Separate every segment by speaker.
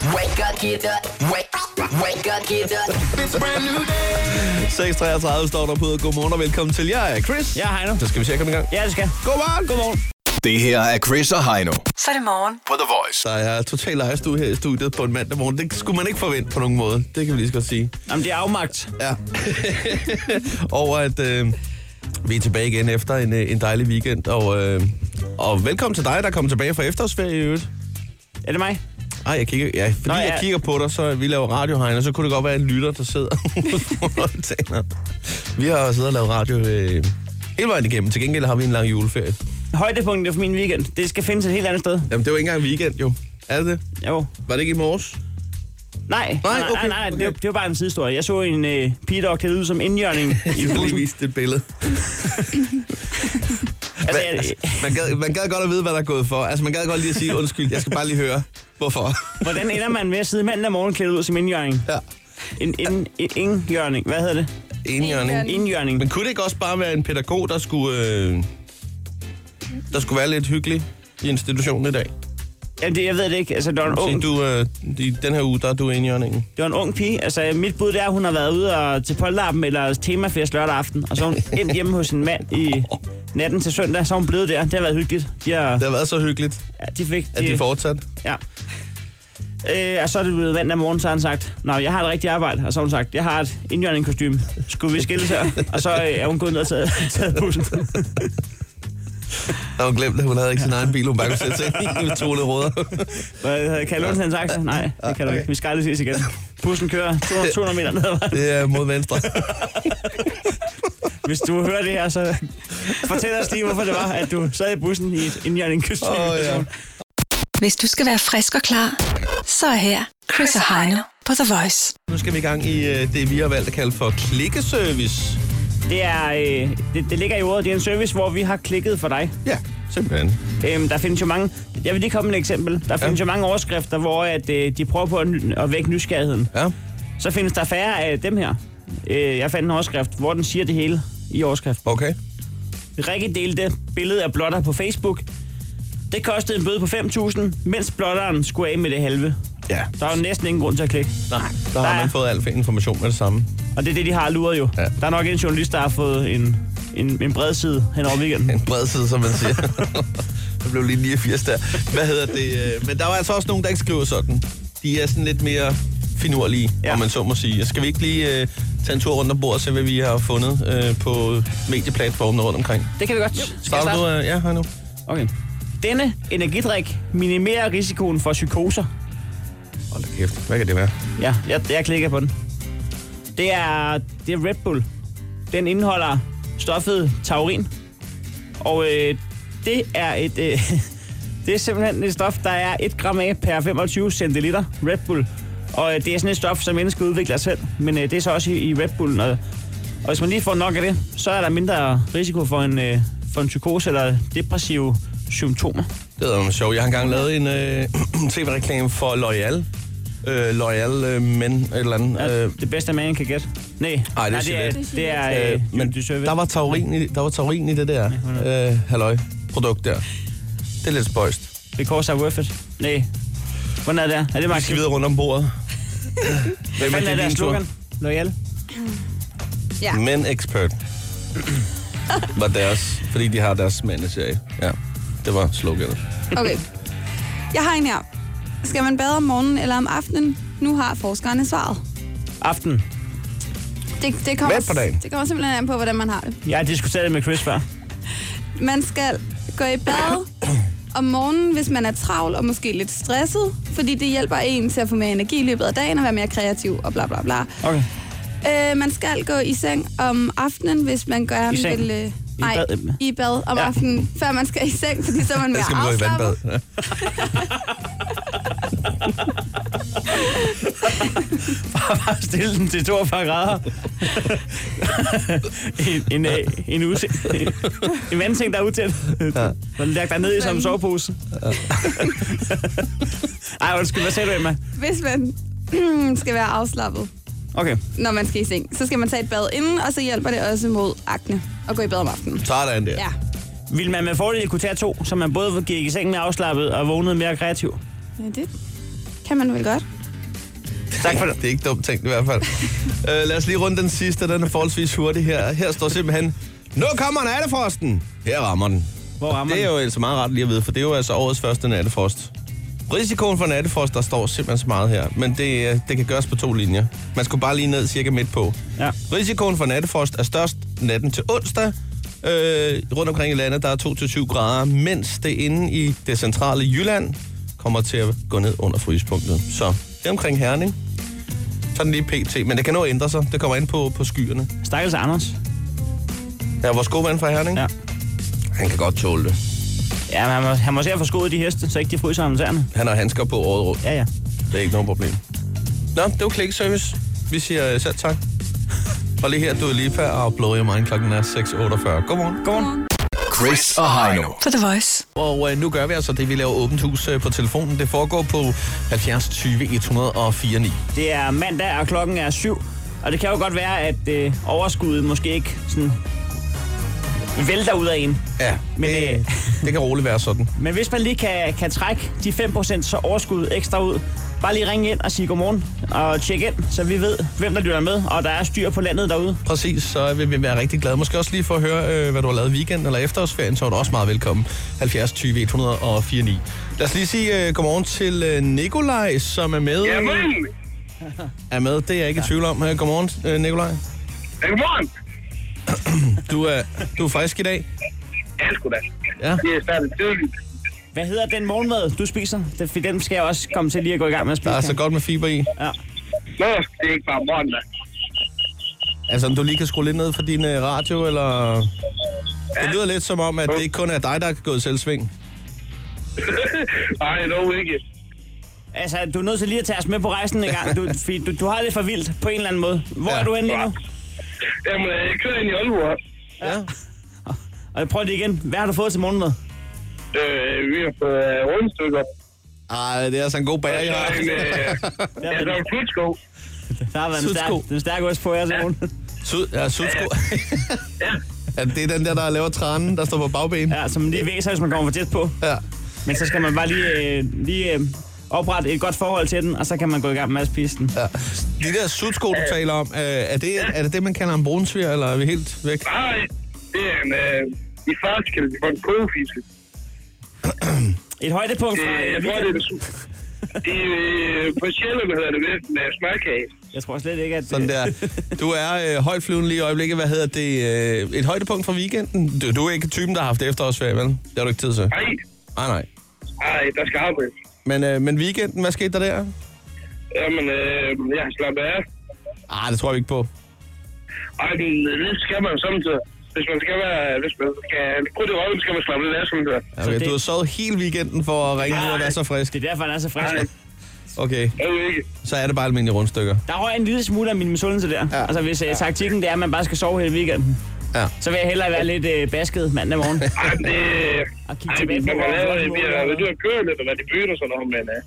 Speaker 1: Wake up, get up. Wake, wake up, get up. It's a brand new day.
Speaker 2: 6.33 står der på. Godmorgen og velkommen til. Jeg er Chris.
Speaker 3: Ja, Heino.
Speaker 2: Så skal vi se at komme i gang.
Speaker 3: Ja, det skal.
Speaker 2: Godmorgen.
Speaker 3: Godmorgen.
Speaker 4: Det her er Chris og Heino
Speaker 5: Så er det morgen.
Speaker 4: på The Voice.
Speaker 2: Der er total lejestue her i studiet på en mandag morgen. Det skulle man ikke forvente på nogen måde. Det kan vi lige så godt sige.
Speaker 3: Jamen, det er afmagt.
Speaker 2: Ja. Over at øh, vi er tilbage igen efter en, øh, en dejlig weekend. Og, øh, og velkommen til dig, der kommer tilbage fra efterårsferie i øvrigt.
Speaker 3: Er det mig?
Speaker 2: Ej, jeg kigger, ja, fordi Nå,
Speaker 3: Nå,
Speaker 2: ja.
Speaker 3: ja.
Speaker 2: jeg kigger på dig, så vi laver radio, Heine, så kunne det godt være en lytter, der sidder ude foran tænder. Vi har siddet og lavet radio øh, hele vejen igennem. Til gengæld har vi en lang juleferie.
Speaker 3: Højdepunktet for min weekend, det skal findes et helt andet sted.
Speaker 2: Jamen, det var ikke engang weekend, jo. Er det det?
Speaker 3: Jo.
Speaker 2: Var det ikke i morges?
Speaker 3: Nej,
Speaker 2: Nej,
Speaker 3: nej, nej,
Speaker 2: okay,
Speaker 3: nej, nej.
Speaker 2: okay.
Speaker 3: Det, var- det var bare en sidestorie. Jeg så en øh, pigedok, der ud som indjørning i
Speaker 2: Jeg lige
Speaker 3: bussen.
Speaker 2: viste et billede.
Speaker 3: Altså, jeg,
Speaker 2: Altså, man, gad, man gad godt at vide, hvad der er gået for. Altså, man gad godt lige at sige, undskyld, jeg skal bare lige høre, hvorfor.
Speaker 3: hvordan ender man med at sidde mandag morgen klædt ud som indjørning?
Speaker 2: Ja.
Speaker 3: En, en, en indjørning. Hvad hedder det?
Speaker 2: Enhjørning.
Speaker 3: Indjørning.
Speaker 2: Men kunne det ikke også bare være en pædagog, der skulle, øh, der skulle være lidt hyggelig i institutionen i dag?
Speaker 3: Jamen, det, jeg ved det ikke. Altså, det var en
Speaker 2: Se,
Speaker 3: ung,
Speaker 2: du, øh, i den her uge, der er du enhjørningen.
Speaker 3: det var en ung pige. Altså, mit bud det er, at hun har været ude og, til polterappen eller temafest lørdag aften. Og så er hun endt hjemme hos en mand i natten til søndag. Så er hun blevet der. Det har været hyggeligt. De, har,
Speaker 2: Det har været så hyggeligt,
Speaker 3: ja, de fik...
Speaker 2: at de fortsat.
Speaker 3: Ja. Øh, og så er det blevet vand af morgen, så har han sagt, Nå, jeg har et rigtigt arbejde. Og så har hun sagt, jeg har et indjørningkostyme. Skulle vi skille her? og så øh, er hun gået ned og taget, taget bussen.
Speaker 2: Der hun glemt, at hun havde ikke sin egen bil, hun bare kunne sætte sig ind i med tonede råder.
Speaker 3: Hvad, kan jeg låne en taxa? Nej, det kan du ikke. Vi skal aldrig ses igen. Bussen kører 200, 200 meter ned ad vejen.
Speaker 2: Det er mod venstre.
Speaker 3: Hvis du hører det her, så fortæl os lige, hvorfor det var, at du sad i bussen i et indjørningkostyme.
Speaker 2: Åh, ja.
Speaker 5: Hvis du skal være frisk og klar, så er her Chris og Heino på The Voice.
Speaker 2: Nu skal vi i gang i øh, det, vi har valgt at kalde for klikkeservice.
Speaker 3: Det, er, øh, det, det ligger i ordet. Det er en service, hvor vi har klikket for dig.
Speaker 2: Ja, simpelthen.
Speaker 3: Øhm, der findes jo mange, jeg vil lige komme med et eksempel. Der findes ja. jo mange overskrifter, hvor at, øh, de prøver på at, ny- at vække nysgerrigheden.
Speaker 2: Ja.
Speaker 3: Så findes der færre af dem her. Øh, jeg fandt en overskrift, hvor den siger det hele i overskriften.
Speaker 2: Okay.
Speaker 3: Rikke delte billedet af blotter på Facebook. Det kostede en bøde på 5.000, mens blotteren skulle af med det halve.
Speaker 2: Ja.
Speaker 3: Der er jo næsten ingen grund til at klikke.
Speaker 2: Nej, der har
Speaker 3: Der er-
Speaker 2: man fået al information med det samme.
Speaker 3: Og det er det, de har luret jo.
Speaker 2: Ja.
Speaker 3: Ja. Der er nok en journalist, der har fået en, en, en bred side hen over weekenden.
Speaker 2: En bred side, som man siger. der blev lige 89 der. Hvad hedder det? øh, Men der var altså også nogen, der ikke skriver sådan. De er sådan lidt mere finurlige, ja.
Speaker 3: Ja.
Speaker 2: om man så må sige. Skal vi ikke lige øh, tage en tur rundt om bordet og se, hvad vi har fundet øh, på medieplatformene rundt omkring?
Speaker 3: Det kan vi godt. Jo,
Speaker 2: Starter du? Øh, ja, her nu.
Speaker 3: Okay. Denne energidrik minimerer risikoen for psykoser.
Speaker 2: Hold da kæft. Hvad kan det være?
Speaker 3: Ja, jeg, jeg klikker på den. Det er, det er Red Bull. Den indeholder stoffet taurin. Og øh, det er et... Øh, det er simpelthen et stof, der er 1 gram af per 25 centiliter Red Bull. Og øh, det er sådan et stof, som mennesket udvikler selv. Men øh, det er så også i, i Red Bullen. Og, og hvis man lige får nok af det, så er der mindre risiko for en, øh, for en psykose eller depressive symptomer.
Speaker 2: Det er jo sjovt. Jeg har engang lavet en øh, tv-reklame for L'Oreal. Øh, L'Oreal øh, Men, et eller andet.
Speaker 3: Ja,
Speaker 2: Øh,
Speaker 3: det bedste, man kan gætte. Nej,
Speaker 2: Ej, det er
Speaker 3: nej, det er,
Speaker 2: Gillette.
Speaker 3: det er,
Speaker 2: Øh,
Speaker 3: øh,
Speaker 2: men
Speaker 3: du server.
Speaker 2: der var taurin i, der var taurin i det der øh, halløj produkt der. Det er lidt spøjst.
Speaker 3: Because I'm worth it. Nej. Hvordan er det? her? Er det
Speaker 2: Vi
Speaker 3: Max?
Speaker 2: skal videre rundt om bordet. Hvem
Speaker 3: Hvad er
Speaker 2: din
Speaker 3: deres
Speaker 2: tur?
Speaker 3: slogan? Loyal.
Speaker 6: Ja.
Speaker 2: Men expert. var deres, fordi de har deres manager. Ja, det var sloganet.
Speaker 6: Okay. Jeg har en her. Skal man bade om morgenen eller om aftenen? Nu har forskerne svaret.
Speaker 3: Aften.
Speaker 6: Det, det, kommer,
Speaker 2: Hvad på dagen?
Speaker 6: det kommer simpelthen an på, hvordan man har det.
Speaker 3: Jeg har diskuteret det med Chris før.
Speaker 6: Man skal gå i bad om morgenen, hvis man er travl og måske lidt stresset, fordi det hjælper en til at få mere energi i løbet af dagen og være mere kreativ og bla bla bla.
Speaker 3: Okay.
Speaker 6: Øh, man skal gå i seng om aftenen, hvis man gerne
Speaker 3: I seng?
Speaker 6: vil... Øh, nej,
Speaker 3: bad?
Speaker 6: i bad om
Speaker 3: Ja.
Speaker 6: ja. aftenen, før man skal i seng, fordi så er man
Speaker 2: Der
Speaker 6: mere
Speaker 2: skal man gå i vandbad.
Speaker 6: afslappet.
Speaker 2: Ja.
Speaker 3: Bare stille den til 42 grader. en, en, øh, en, use, en vandseng, der er utæt. Ja. Man lægger dig ned i som en sovepose. Ej, undskyld. Hvad sagde du, Emma?
Speaker 6: Hvis man skal være afslappet,
Speaker 3: Okay.
Speaker 6: når man skal i seng, så skal man tage et bad inden, og så hjælper det også mod akne at gå i bad om aftenen.
Speaker 2: Sådan der.
Speaker 6: Ja.
Speaker 3: Vil man med fordel kunne tage to, så man både gik i seng med afslappet og vågnede mere kreativ?
Speaker 6: ja, det kan man vel godt.
Speaker 3: Tak for det.
Speaker 2: det er ikke dumt tænkt i hvert fald. uh, lad os lige runde den sidste, den er forholdsvis hurtig her. Her står simpelthen, nu kommer nattefrosten. Her rammer den.
Speaker 3: Hvor
Speaker 2: Og
Speaker 3: rammer
Speaker 2: det er
Speaker 3: den?
Speaker 2: jo altså meget rart lige at vide, for det er jo altså årets første nattefrost. Risikoen for nattefrost, der står simpelthen så meget her, men det, øh, det kan gøres på to linjer. Man skulle bare lige ned cirka midt på.
Speaker 3: Ja.
Speaker 2: Risikoen for nattefrost er størst natten til onsdag. Øh, rundt omkring i landet, der er 2-7 grader, mens det inde i det centrale Jylland kommer til at gå ned under frysepunktet. Så det er omkring Herning. Sådan lige pt. Men det kan nå at ændre sig. Det kommer ind på, på skyerne.
Speaker 3: Stakkels Anders.
Speaker 2: Ja, vores gode ven fra Herning,
Speaker 3: Ja.
Speaker 2: han kan godt tåle det.
Speaker 3: Ja, men han må, han må se at få skoet de heste, så ikke de fryser ham tæerne.
Speaker 2: Han har handsker på året rundt.
Speaker 3: Ja, ja.
Speaker 2: Det er ikke noget problem. Nå, det var klikservice. Vi siger uh, selv tak. Og lige her, du er lige før, og Blow Your Mind klokken er 6.48. Godmorgen.
Speaker 3: Godmorgen.
Speaker 4: Chris og Heino.
Speaker 5: På The Voice.
Speaker 2: Og øh, nu gør vi altså det, vi laver åbent hus øh, på telefonen. Det foregår på 70 20 104 9.
Speaker 3: Det er mandag, og klokken er syv. Og det kan jo godt være, at øh, overskuddet måske ikke sådan vælter ud af en.
Speaker 2: Ja,
Speaker 3: Men,
Speaker 2: det,
Speaker 3: øh,
Speaker 2: det kan roligt være sådan.
Speaker 3: Men hvis man lige kan, kan trække de 5% så overskud ekstra ud, bare lige ringe ind og sige godmorgen og tjek ind, så vi ved, hvem der lytter med, og der er styr på landet derude.
Speaker 2: Præcis, så vil vi være rigtig glade. Måske også lige for at høre, øh, hvad du har lavet i weekenden eller efterårsferien, så er du også meget velkommen. 70 20 104 9. Lad os lige sige øh, godmorgen til øh, Nikolaj, som er med. Jamen. Er med, det er jeg ikke i tvivl om. Øh, Godmorgen, øh, Nikolaj.
Speaker 7: Godmorgen.
Speaker 2: Du er, du er frisk i dag.
Speaker 7: Ja, sgu da.
Speaker 2: Ja.
Speaker 7: Det er startet tidligt.
Speaker 3: Hvad hedder den morgenmad, du spiser? Det- For den skal jeg også komme til lige at gå i gang med at
Speaker 2: Der
Speaker 3: spise.
Speaker 2: er så godt med fiber i.
Speaker 3: Ja.
Speaker 7: Nå, det er ikke bare morgen, da.
Speaker 2: Altså, om du lige kan skrue lidt ned for din øh, radio, eller... Det lyder lidt som om, at det ikke kun er dig, der kan gå i selvsving.
Speaker 7: Nej, dog ikke.
Speaker 3: Altså, du er nødt til lige at tage os med på rejsen en gang. Du, fordi du, du har det for vildt på en eller anden måde. Hvor
Speaker 2: Ja.
Speaker 3: ja. er du henne lige nu?
Speaker 7: Jamen, øh, jeg kører ind i Aalborg.
Speaker 2: Ja.
Speaker 3: Og prøv det igen. Hvad har du fået til morgenmad?
Speaker 7: Øh, vi har fået øh, rundstykker.
Speaker 2: Ej, det er altså en god bager, jeg
Speaker 7: Så
Speaker 2: har.
Speaker 7: en, øh,
Speaker 3: Der
Speaker 7: ja,
Speaker 3: har
Speaker 7: der er
Speaker 3: været,
Speaker 7: en flutsko.
Speaker 3: der har været en, stærk,
Speaker 2: Sudsko.
Speaker 3: den stærke ost på jer til morgen.
Speaker 2: Sud, ja, sudsko. ja, det er den der, der laver tranen, der står på bagben.
Speaker 3: Ja, som lige væser, hvis man kommer for tæt på.
Speaker 2: Ja.
Speaker 3: Men så skal man bare lige, øh, lige øh, oprette et godt forhold til den, og så kan man gå i gang med at spise den.
Speaker 2: ja. De der sudsko, du taler om, øh, er det, er det det, man kalder en brunsviger, eller er vi helt væk?
Speaker 7: Nej, det er en... Øh, I faktisk kalder det for en kogefiske.
Speaker 3: Et højdepunkt fra
Speaker 7: Øh, jeg
Speaker 3: øh,
Speaker 7: tror, det er
Speaker 3: weekenden.
Speaker 7: en... su- I, øh, på Sjælland hedder det vist en øh, smørkage.
Speaker 3: Jeg tror slet ikke, at... øh,
Speaker 2: Sådan der. Du er øh, højtflyvende lige i øjeblikket. Hvad hedder det? Øh, et højdepunkt fra weekenden? Du, du er ikke typen, der har haft efterårsferie, vel? Det har du ikke tid til.
Speaker 7: Nej,
Speaker 2: Nej, nej.
Speaker 7: nej, der skal arbejde.
Speaker 2: Men, øh, men weekenden, hvad skete der der?
Speaker 7: Jamen, øh, jeg har slappet af.
Speaker 2: Ah, det tror jeg ikke på.
Speaker 7: Ej, men det skal man samtidig. Hvis man skal være... Hvis man skal... Kun det røven skal man slappe lidt af samtidig.
Speaker 2: Okay,
Speaker 3: det-
Speaker 2: Du har sovet hele weekenden for at ringe ud og være så frisk.
Speaker 3: Det er derfor, han er så frisk.
Speaker 7: Nej.
Speaker 2: Okay,
Speaker 7: Jeg ved ikke.
Speaker 2: så er det bare almindelige rundstykker.
Speaker 3: Der røg en lille smule af min misundelse der. Ja. Altså, hvis øh, taktikken det er, at man bare skal sove hele weekenden,
Speaker 2: Ja.
Speaker 3: så vil jeg hellere være lidt øh, basket mandag morgen.
Speaker 7: Ej, men det...
Speaker 3: Og kigge
Speaker 7: Ej,
Speaker 3: tilbage på,
Speaker 7: man kan
Speaker 3: hvor
Speaker 7: lave
Speaker 3: godt
Speaker 7: det. Vi
Speaker 3: målet
Speaker 7: har
Speaker 3: er.
Speaker 7: været ude at køre lidt og været i byen og sådan noget, men... øh,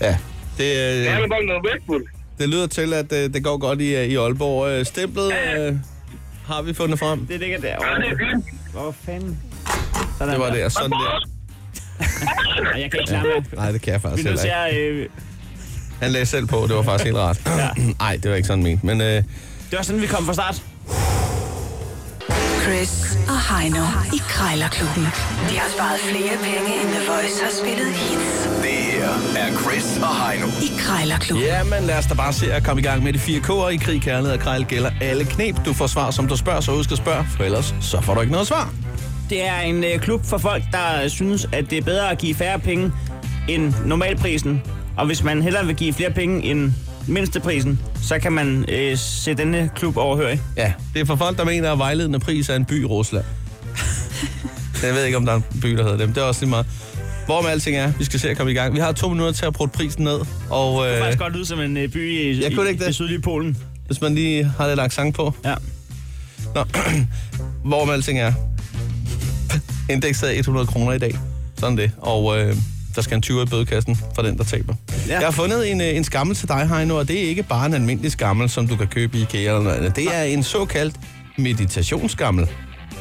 Speaker 2: Ja. Det,
Speaker 7: Jeg
Speaker 2: øh,
Speaker 7: har bare noget Red Bull.
Speaker 2: det lyder til, at øh, det går godt i, øh, i Aalborg. Øh, stemplet øh, har vi fundet frem.
Speaker 3: Det ligger
Speaker 7: Ja, det
Speaker 3: derovre.
Speaker 7: er fint.
Speaker 3: Hvor fanden? Sådan
Speaker 2: Det var
Speaker 3: der.
Speaker 2: det, og sådan der.
Speaker 3: Og jeg kan ikke klare mig.
Speaker 2: Nej, det kan jeg
Speaker 3: Vi
Speaker 2: faktisk
Speaker 3: er nødt
Speaker 2: heller
Speaker 3: til
Speaker 2: ikke.
Speaker 3: at... Øh,
Speaker 2: Han lagde selv på, det var faktisk helt rart. Nej, det var ikke sådan ment, men øh,
Speaker 3: det var sådan, vi kom fra start.
Speaker 8: Chris og Heino i Krejlerklubben. De har sparet flere penge, end The Voice har spillet hits
Speaker 4: Det her er Chris og Heino.
Speaker 8: i Krejlerklubben.
Speaker 2: Ja, men lad os da bare se at komme i gang med de fire K'er i krig, kærlighed og krejl gælder alle knep. Du får svar, som du spørger, så husk at spørge, for ellers så får du ikke noget svar.
Speaker 3: Det er en øh, klub for folk, der synes, at det er bedre at give færre penge end normalprisen. Og hvis man hellere vil give flere penge end mindsteprisen, så kan man øh, se denne klub overhørig.
Speaker 2: Ja, det er for folk, der mener, at vejledende pris er en by i Rusland. jeg ved ikke, om der er en by, der hedder dem. Det er også lige meget. Hvorom alting er, vi skal se at komme i gang. Vi har to minutter til at bruge prisen ned, og
Speaker 3: Det
Speaker 2: øh,
Speaker 3: faktisk godt ud som en øh, by i,
Speaker 2: Jeg
Speaker 3: i,
Speaker 2: kunne ikke
Speaker 3: i
Speaker 2: det.
Speaker 3: det sydlige Polen.
Speaker 2: hvis man lige har lidt accent på.
Speaker 3: Ja.
Speaker 2: Nå. Hvorom alting er. Indekset er 100 kroner i dag. Sådan det. Og øh, der skal en 20 i bødekassen for den, der taber. Ja.
Speaker 3: Ja.
Speaker 2: Jeg har fundet en, øh, en skammel til dig, Heino, og det er ikke bare en almindelig skammel, som du kan købe i IKEA eller noget andet. Det er en såkaldt meditationsskammel. Den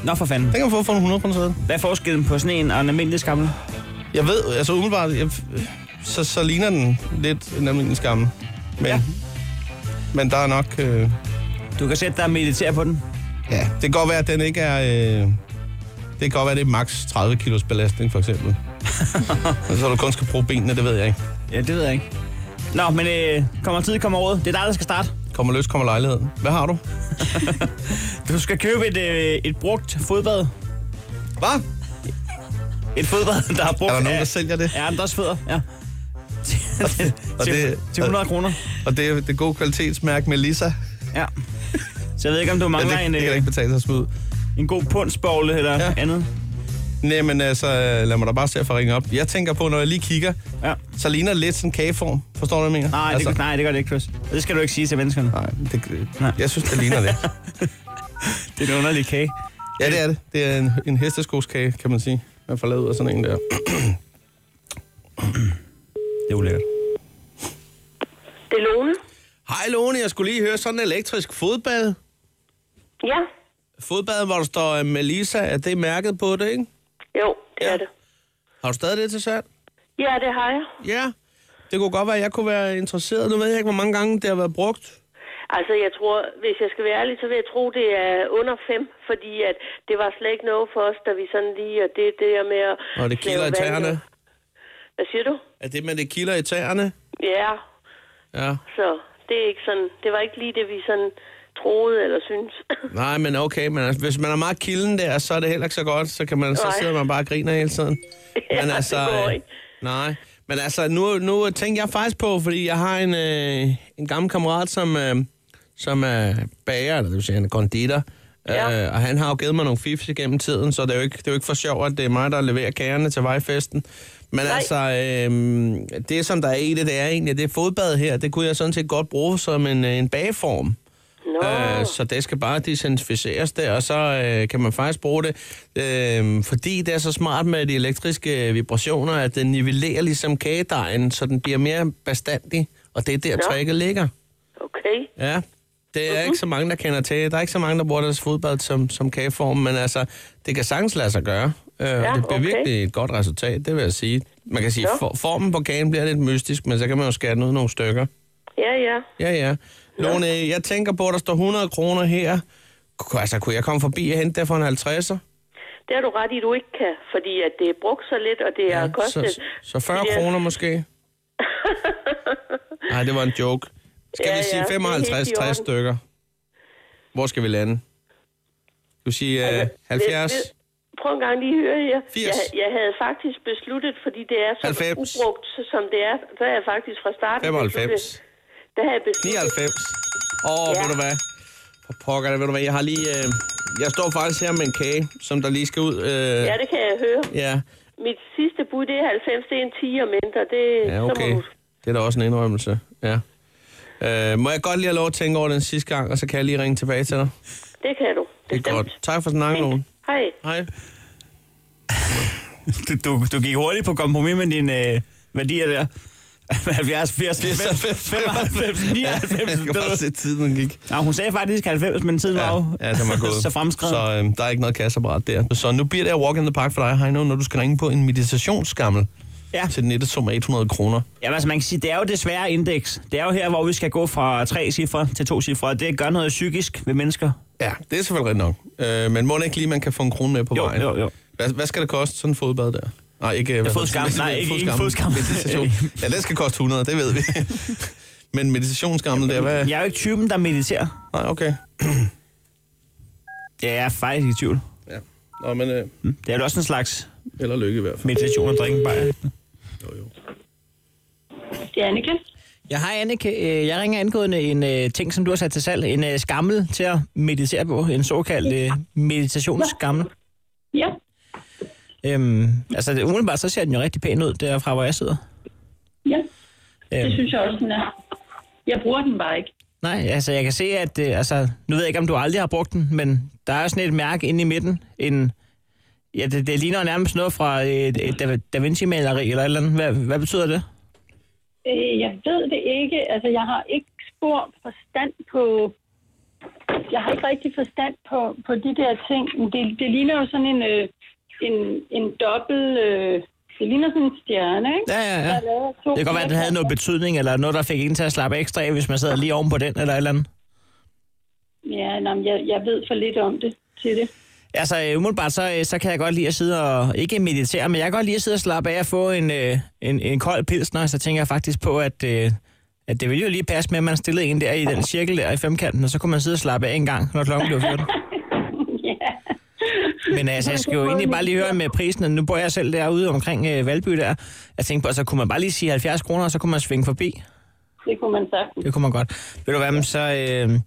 Speaker 3: Nå for fanden.
Speaker 2: kan man få for en 100 kroner
Speaker 3: Hvad er forskellen på sådan en og en almindelig skammel?
Speaker 2: Jeg ved, altså umiddelbart, jeg, så, så ligner den lidt en almindelig skamme. Men, ja.
Speaker 3: Ja.
Speaker 2: men der er nok... Øh,
Speaker 3: Du kan sætte dig og meditere på den.
Speaker 2: ja, det kan godt være, at den ikke er... Øh, det kan godt være, at det er maks 30 kilos belastning, for eksempel. Og så du kun skal bruge benene, det ved jeg ikke.
Speaker 3: Ja, det ved jeg ikke. Nå, men øh, kommer tid, kommer råd. Det er dig, der skal starte.
Speaker 2: Kommer løs, kommer lejligheden. Hvad har du?
Speaker 3: Du skal købe et, øh, et brugt fodbad.
Speaker 2: Hvad?
Speaker 3: Et fodbad, der er brugt
Speaker 2: Er der nogen, der
Speaker 3: af-
Speaker 2: sælger det?
Speaker 3: Ja, andres fødder, ja.
Speaker 2: Og
Speaker 3: til,
Speaker 2: det-
Speaker 3: til 100 kroner.
Speaker 2: Og det er det gode kvalitetsmærke Melissa.
Speaker 3: Ja. Så jeg ved ikke, om du
Speaker 2: Ja, det,
Speaker 3: mangler
Speaker 2: det kan
Speaker 3: en,
Speaker 2: da
Speaker 3: øh,
Speaker 2: ikke betale sig at smide. ud.
Speaker 3: en god pundsbogle eller
Speaker 2: Ja.
Speaker 3: ja. andet.
Speaker 2: Nej, men altså, lad mig da bare se at få ringet op. Jeg tænker på, når jeg lige kigger,
Speaker 3: Ja.
Speaker 2: så ligner det lidt sådan en kageform. Forstår du, hvad jeg mener?
Speaker 3: Nej, altså. det, nej, det gør det ikke, Chris. Og Det skal du ikke sige til menneskerne.
Speaker 2: Nej, det,
Speaker 3: Nej.
Speaker 2: jeg synes, det ligner det.
Speaker 3: Det er en underlig kage.
Speaker 2: Ja, det er det. Det er en, en hesteskoskage, kan man sige. Man får lavet ud af sådan en der.
Speaker 3: Det er ulækkert.
Speaker 9: Det er Lone.
Speaker 2: Hej Lone, jeg skulle lige høre sådan en elektrisk fodbad.
Speaker 9: Ja,
Speaker 2: Fodbad, hvor der står øh, Melissa, er det mærket på det, ikke?
Speaker 9: jo, det ja. er det.
Speaker 2: Har du stadig det til salg?
Speaker 9: Ja, det har jeg.
Speaker 2: Ja. Det kunne godt være, at jeg kunne være interesseret. Nu ved jeg ikke, hvor mange gange det har været brugt.
Speaker 9: Altså, jeg tror, hvis jeg skal være ærlig, så vil jeg tro, det er under fem, fordi at det var slet ikke noget for os, da vi sådan lige, og det det der med at...
Speaker 2: Og det kilder
Speaker 9: lave
Speaker 2: i
Speaker 9: vand-
Speaker 2: tæerne.
Speaker 9: Hvad siger du?
Speaker 2: Er det med det kilder i tæerne?
Speaker 9: Ja,
Speaker 2: Ja.
Speaker 9: så det er ikke sådan, det var ikke lige det, vi sådan troede eller synes.
Speaker 2: Nej, men okay, men altså, hvis man er meget kilden der, så er det heller ikke så godt, så, kan man, så
Speaker 9: Nej.
Speaker 2: sidder man bare og griner hele tiden.
Speaker 9: Ja,
Speaker 2: men
Speaker 9: det
Speaker 2: altså,
Speaker 9: går
Speaker 2: øh,
Speaker 9: ikke.
Speaker 2: Nej, men altså, nu, nu tænker jeg faktisk på, fordi jeg har en, øh, en gammel kammerat, som, øh, som er bager, eller det vil sige, han er konditor,
Speaker 9: Ja.
Speaker 2: øh, og han har jo givet mig nogle fifs igennem tiden, så det er jo ikke, det er jo ikke for sjovt, at det er mig, der leverer kagerne til vejfesten. Men Nej.
Speaker 9: Nej.
Speaker 2: altså, øh, det som der er i det, det er egentlig, det er fodbad her, det kunne jeg sådan set godt bruge som en, øh, en bageform.
Speaker 9: Nå,
Speaker 2: Øh, så det skal bare desinficeres der, og så øh, kan man faktisk bruge det. Øh, fordi det er så smart med de elektriske øh, vibrationer, at den nivellerer ligesom kagedejen, så den bliver mere bestandig, og det er der Nå.
Speaker 9: Nå. Mhm.
Speaker 2: tricket ligger.
Speaker 9: okay.
Speaker 2: Ja. Det er mm-hmm. ikke så mange, der kender til. Der er ikke så mange, der bruger deres fodbold som, som kageform, men altså, det kan sagtens lade sig gøre. Øh, ja, det bliver
Speaker 9: okay.
Speaker 2: virkelig et godt resultat, det vil jeg sige. Man kan sige,
Speaker 9: Nå.
Speaker 2: for, formen på kagen bliver lidt mystisk, men så kan man jo skære den ud i nogle stykker.
Speaker 9: Ja, ja.
Speaker 2: Ja, ja. Lone, jeg tænker på, at der står 100 kroner her. Ku- Altså, kunne jeg komme forbi og hente det for en 50'er?
Speaker 9: Det har du ret i, du ikke kan, fordi at det er brugt så lidt, og det har kostet...
Speaker 2: så, så 40
Speaker 9: Ja.
Speaker 2: kroner måske? Nej, det var en joke. Skal
Speaker 9: Ja,
Speaker 2: vi
Speaker 9: ja,
Speaker 2: sige
Speaker 9: det er helt i
Speaker 2: 55-60
Speaker 9: orden.
Speaker 2: stykker? Hvor skal vi lande? Skal vi sige
Speaker 9: Altså,
Speaker 2: øh, 70?
Speaker 9: Ved- ved- Prøv en gang lige at høre her.
Speaker 2: 80.
Speaker 9: Jeg, jeg havde faktisk besluttet, fordi det er så
Speaker 2: 90.
Speaker 9: ubrugt, så- som det er. Der er jeg faktisk fra starten...
Speaker 2: 95.
Speaker 9: besluttet- Der har jeg besluttet...
Speaker 2: 99? Åh, oh,
Speaker 9: Ja.
Speaker 2: ved du hvad? For pokker, det, ved du hvad? Jeg har lige... Øh, jeg står faktisk her med en kage, som der lige skal ud. Øh,
Speaker 9: Ja,
Speaker 2: ja.
Speaker 9: det kan jeg høre.
Speaker 2: ja.
Speaker 9: Mit sidste bud, det er 90, det er en 10 og mindre. Det,
Speaker 2: Ja,
Speaker 9: så
Speaker 2: okay.
Speaker 9: må du...
Speaker 2: Det er da også en indrømmelse, ja. Øh, må jeg godt lige have lov at tænke over den sidste gang, og så kan jeg lige ringe tilbage til dig?
Speaker 9: Det kan du.
Speaker 2: Det er godt. Tak for snakken, Lone.
Speaker 9: Hej.
Speaker 2: Hej.
Speaker 3: Du, du, du gik hurtigt på kompromis med dine øh, værdier der. 70, 80, 95, 99.
Speaker 2: Jeg kan
Speaker 3: det
Speaker 2: bare
Speaker 3: ved-
Speaker 2: se, at tiden gik.
Speaker 3: Nå, hun sagde faktisk 90, men tiden var jo
Speaker 2: ja den var gået.
Speaker 3: så fremskreden.
Speaker 2: Så øh, der er ikke noget kasseapparat der. Så nu bliver det at walk in the park for dig, Heino, når du skal ringe på en meditationsgammel
Speaker 3: Ja.
Speaker 2: til den nette sum af 100 kroner.
Speaker 3: Jamen, altså, man kan sige, det er jo desværre indeks. Det er jo her, hvor vi skal gå fra tre cifre til to cifre. Det gør noget psykisk ved mennesker.
Speaker 2: Ja, det er selvfølgelig rigtigt nok. Øh, men må det ikke lige, man kan få en krone med på
Speaker 3: Jo,
Speaker 2: vejen?
Speaker 3: jo, jo.
Speaker 2: Hvad, hvad skal det koste, sådan en fodbad der? Nej, ikke... hvad hedder det?
Speaker 3: fodskam. Nej, ikke- ikke fodskam.
Speaker 2: Meditation. ja, den skal koste 100, det ved vi. men meditationsgammel der, hvad...
Speaker 3: Jeg er jo ikke typen, der mediterer.
Speaker 2: Nej, okay.
Speaker 3: Jeg er faktisk i tvivl.
Speaker 2: Ja. Nå, men... Øh,
Speaker 3: Det er jo også en slags
Speaker 2: eller lykke i hvert fald.
Speaker 3: meditation at drikke bare.
Speaker 9: Det er Annike.
Speaker 3: Jeg har, Anneke, øh, jeg ringer angående en øh, ting, som du har sat til salg. En øh, skammel til at meditere på. En såkaldt øh, meditationsskammel.
Speaker 9: Ja.
Speaker 3: Øhm, altså, det- umiddelbart så ser den jo rigtig pæn ud, derfra hvor jeg sidder.
Speaker 9: Ja,
Speaker 3: Øhm,
Speaker 9: jeg også, den er. Jeg bruger den bare ikke.
Speaker 3: Nej, altså jeg kan se, at øh, altså, nu ved jeg ikke, om du aldrig har brugt den, men der er sådan et mærke inde i midten. En, ja, det, det ligner nærmest noget fra et, et Da, da Vinci-maleri eller et eller andet. Hvad, hvad betyder det?
Speaker 9: Øh, jeg ved det ikke. Altså, jeg har ikke spor forstand på... Jeg har ikke rigtig forstand på, på de der ting. Men Det, det ligner jo sådan en, øh, en, en dobbelt... Øh,
Speaker 10: Det ligner sådan en stjerne, ikke?
Speaker 3: Ja, ja, ja.
Speaker 10: Der er lavet af to
Speaker 3: Det kan godt være, at det havde noget betydning, eller noget, der fik en til at slappe ekstra af, hvis man sad lige oven på den, eller et eller andet.
Speaker 10: Ja, nå, men jeg, jeg ved for lidt om det til det.
Speaker 3: Altså, øh, umiddelbart, så, øh, så kan jeg godt lide at sidde og, ikke meditere, men jeg kan godt lide at sidde og slappe af og få en, øh, en, en kold pilsner, så tænker jeg faktisk på, at, øh, at det ville jo lige passe med, at man stillede en der i den cirkel der i femkanten, og så kunne man sidde og slappe af en gang, når klokken blev 14. Men altså, jeg skal jo egentlig bare lige høre med prisen, nu bor jeg selv derude omkring øh, Valby der. Jeg tænkte på, altså kunne man bare lige sige 70 kroner, og så kunne man svinge forbi.
Speaker 10: Det kunne man sagtens.
Speaker 3: Det kunne man godt. Ved du hvad, men så... Øh,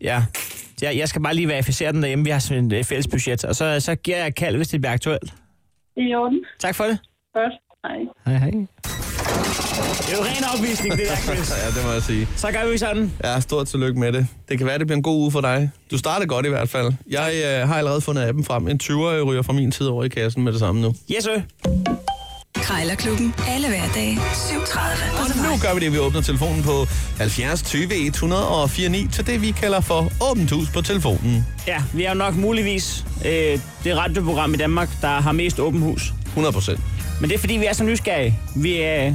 Speaker 3: ja, jeg, jeg skal bare lige verificere den derhjemme. Vi har sådan et øh, fælles budget. Og så, så giver jeg et kald, hvis det bliver aktuelt.
Speaker 10: Det er i orden.
Speaker 3: Tak for det.
Speaker 10: Godt. Hej.
Speaker 3: Hej, hej. Det er jo ren opvisning, det der, Chris.
Speaker 2: ja, det må jeg sige.
Speaker 3: Så gør vi sådan.
Speaker 2: Ja, stort tillykke med det. Det kan være, det bliver en god uge for dig. Du starter godt i hvert fald. Jeg øh, har allerede fundet appen frem. En 20'er ryger fra min tid over i kassen med det samme nu.
Speaker 3: Yes, sir.
Speaker 5: Krejlerklubben. Alle hverdage 7.30 på The
Speaker 2: Nu
Speaker 5: Voice.
Speaker 2: gør vi det, vi åbner telefonen på 70 20 104 9 til det, vi kalder for åbent hus på telefonen.
Speaker 3: Ja, vi er jo nok muligvis øh, det radioprogram i Danmark, der har mest åben hus.
Speaker 2: 100 procent.
Speaker 3: Men det er fordi, vi er så nysgerrige. Vi, øh, det, er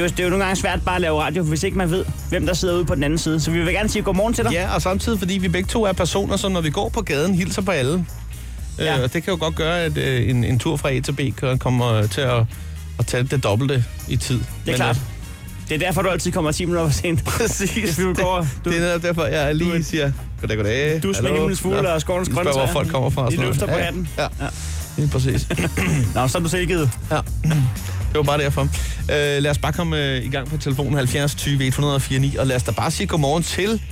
Speaker 3: jo, det er jo nogle gange svært bare at lave radio, hvis ikke man ved, hvem der sidder ude på den anden side. Så vi vil gerne sige godmorgen til dig.
Speaker 2: Ja, og samtidig fordi vi begge to er personer, som når vi går på gaden, hilser på alle. Ja. Øh, og det kan jo godt gøre, at øh, en, en tur fra A til B kan- kommer øh, til at, at tage det dobbelte i tid. øh, Det
Speaker 3: Det er klart. Det er derfor, du altid kommer 10 minutter for sent.
Speaker 2: Præcis.
Speaker 3: Du går, du,
Speaker 2: Det er netop derfor, jeg lige siger, goddag, goddag.
Speaker 3: du er som
Speaker 2: hallo."
Speaker 3: himlens fugle
Speaker 2: Nå,
Speaker 3: og skovens
Speaker 2: de
Speaker 3: grøntsager.
Speaker 2: Spørger, hvor folk kommer fra. og
Speaker 3: De
Speaker 2: sådan noget.
Speaker 3: løfter på
Speaker 2: Ja,
Speaker 3: hatten.
Speaker 2: Ja, ja. Lige præcis.
Speaker 3: Nå, så er du tilgivet.
Speaker 2: Ja. Det var bare derfor. Øh, lad os bare komme øh, i gang på telefonen 70 20 104 9, og lad os da bare sige godmorgen til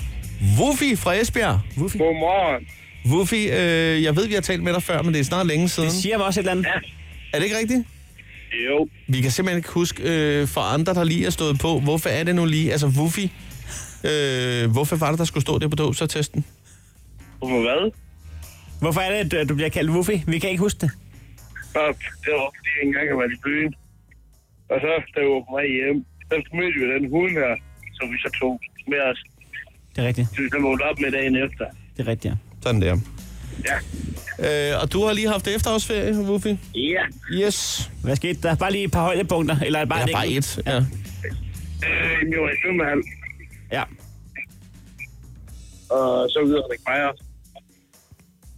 Speaker 2: Wuffy fra Esbjerg.
Speaker 3: Wuffy.
Speaker 7: Godmorgen.
Speaker 2: Wuffy, øh, jeg ved, vi har talt med dig før, men det er snart længe siden.
Speaker 3: Det siger mig også et eller andet.
Speaker 2: Er det ikke rigtigt?
Speaker 7: Jo.
Speaker 2: Vi kan simpelthen ikke huske øh, for andre, der lige er stået på. Hvorfor er det nu lige? Altså, Wuffy, øh, hvorfor var det, der skulle stå det på dåbsertesten?
Speaker 7: Hvorfor hvad?
Speaker 3: Hvorfor er det, at øh, du bliver kaldt Wuffy? Vi kan ikke huske det.
Speaker 7: Og det var fordi, jeg engang har været i byen. Og så, da jeg var på vej hjem, så mødte vi den hund her, som vi så tog med os.
Speaker 3: Det er rigtigt.
Speaker 7: Så vi så vågnede op med dagen efter.
Speaker 3: Det er rigtigt, ja.
Speaker 2: Sådan der.
Speaker 7: Ja.
Speaker 2: Øh, og du har lige haft efterårsferie, Wuffy?
Speaker 7: Ja.
Speaker 2: Yes.
Speaker 3: Hvad skete der? Bare lige et par højdepunkter, eller bare,
Speaker 2: Ja,
Speaker 3: et
Speaker 2: bare
Speaker 3: enkelt?
Speaker 2: et. Ja.
Speaker 7: Øh, jeg var i svømmehal,
Speaker 3: Ja.
Speaker 7: og så videre Rik Meier.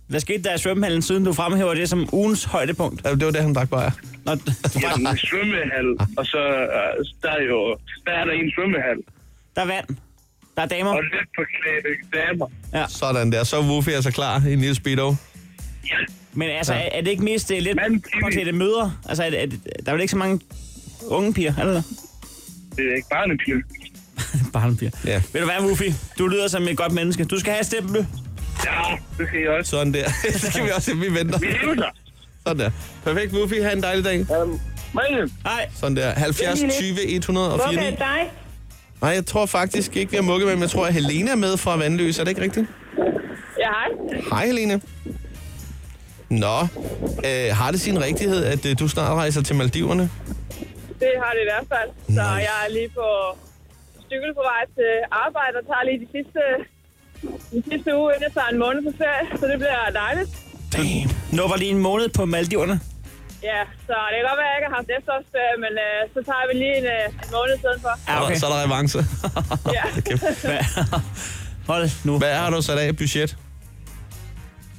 Speaker 3: Hvad skete der i svømmehallen, siden du fremhæver det som ugens højdepunkt?
Speaker 2: Ja, Det var det, han drak bare.
Speaker 3: Nå, du
Speaker 7: Ja,
Speaker 3: bare,
Speaker 7: en svømmehal, og så øh, der er jo, der er der en svømmehal,
Speaker 3: der er vand. Der er damer.
Speaker 7: og lidt på klæde damer.
Speaker 2: Sådan der. Så er Wuffy altså klar i en lille speedo.
Speaker 7: Ja,
Speaker 3: Men altså, er, er det ikke mest uh, lidt
Speaker 7: Mand, Jimmy.
Speaker 3: påklædte møder? Altså, er, det- er, det- der er vel ikke så mange unge piger, er der det?
Speaker 7: det er ikke barnepil.
Speaker 3: Barnepiger.
Speaker 2: Ja.
Speaker 3: Ved du hvad, Wuffy? Du lyder som et godt menneske. Du skal have et stempel.
Speaker 7: Ja, det skal jeg også.
Speaker 2: Sådan der. det kan vi også se, vi venter.
Speaker 7: Vi lever der.
Speaker 2: Sådan der. Perfekt, Wuffy. Ha' en dejlig dag.
Speaker 7: Um, Malin,
Speaker 3: Nej,
Speaker 2: Sådan der. 70 20 104 9.
Speaker 11: dig?
Speaker 2: Nej, jeg tror faktisk ikke, vi har mukket med, men jeg tror, at Helena er med fra Vandløs. Er det ikke rigtigt?
Speaker 11: Ja, hej.
Speaker 2: Hej, Helene. Nå, øh, har det sin rigtighed, at øh, du snart rejser til Maldiverne?
Speaker 9: Det har det i hvert fald. Så jeg er lige på cykel på vej til arbejde og tager lige de sidste, de sidste uge, inden jeg tager en måned på ferie. Så det bliver dejligt.
Speaker 2: Damn.
Speaker 3: nu var lige en måned på Maldiverne.
Speaker 9: Ja, så det kan godt være, at jeg ikke har haft efterårsferie, men øh, så tager vi lige en, øh, en måned i stedet for.
Speaker 3: Ja, okay.
Speaker 2: Så er der revanche.
Speaker 9: Ja.
Speaker 3: Hvad- Hold nu.
Speaker 2: Hvad har du sat af i budget?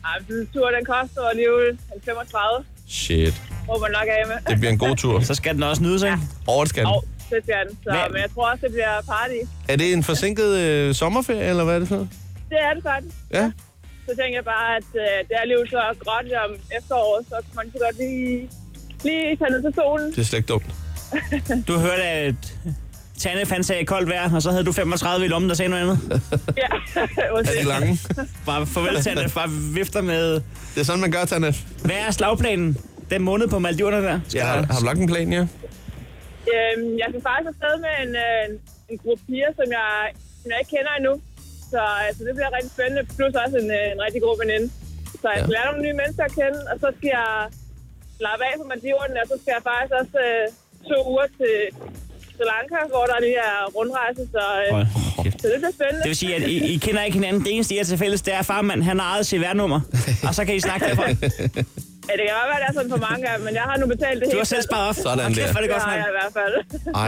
Speaker 9: Ej, men turen den koster alligevel 35,
Speaker 2: Shit.
Speaker 9: hvor man nok er af med.
Speaker 2: Det bliver en god tur.
Speaker 3: Så skal den også nydes, ikke?
Speaker 2: Over det skal den.
Speaker 9: Og det skal den. Så,
Speaker 3: Hvad-
Speaker 9: men jeg tror også, det bliver party.
Speaker 2: Er det en forsinket øh, sommerferie, eller hvad er det for noget?
Speaker 9: Det er det faktisk.
Speaker 2: Ja.
Speaker 9: Så tænker jeg bare, at øh, det er alligevel så gråt om efteråret, så kan man så godt lige, lige tage ned til solen.
Speaker 2: Det er slet ikke dumt.
Speaker 3: Du hørte, at Tanne fandt sig i koldt vejr, og så havde du 35 i lommen, der sagde noget andet.
Speaker 9: Ja,
Speaker 2: Er de
Speaker 9: undskyld.
Speaker 2: lange?
Speaker 3: Bare farvel, Tanne. Bare vifter med...
Speaker 2: Det er sådan, man gør, Tanne.
Speaker 3: Hvad er slagplanen? Den måned på Maldiverne der? Skal
Speaker 2: Jeg har, har du lagt en plan, ja?
Speaker 9: Øhm, jeg skal faktisk afsted med en, øh, en- en gruppe piger, som jeg, som jeg ikke kender endnu. Så altså, det bliver rigtig spændende, plus også en, øh, en rigtig god veninde. Så jeg skal lære nogle nye mennesker at kende, og så skal jeg slappe af på Maldiverne, og så skal jeg faktisk også øh, to uger til Sri Lanka, hvor der lige er rundrejse, så, øh,
Speaker 3: Hold
Speaker 9: så det bliver spændende.
Speaker 3: Det vil sige, at I, I kender ikke hinanden. Det eneste, I har til fælles, det er at farmand, han har ejet CVR-nummer. Og så kan I snakke derfra.
Speaker 9: Ja, det kan godt være, det er sådan for mange af dem, men jeg har nu betalt det
Speaker 3: Du
Speaker 9: hele
Speaker 3: har selv sparet op.
Speaker 2: Sådan
Speaker 3: Hold kæft,
Speaker 2: der.
Speaker 3: hvor er det godt,
Speaker 9: har
Speaker 3: mand.
Speaker 9: jeg i hvert fald.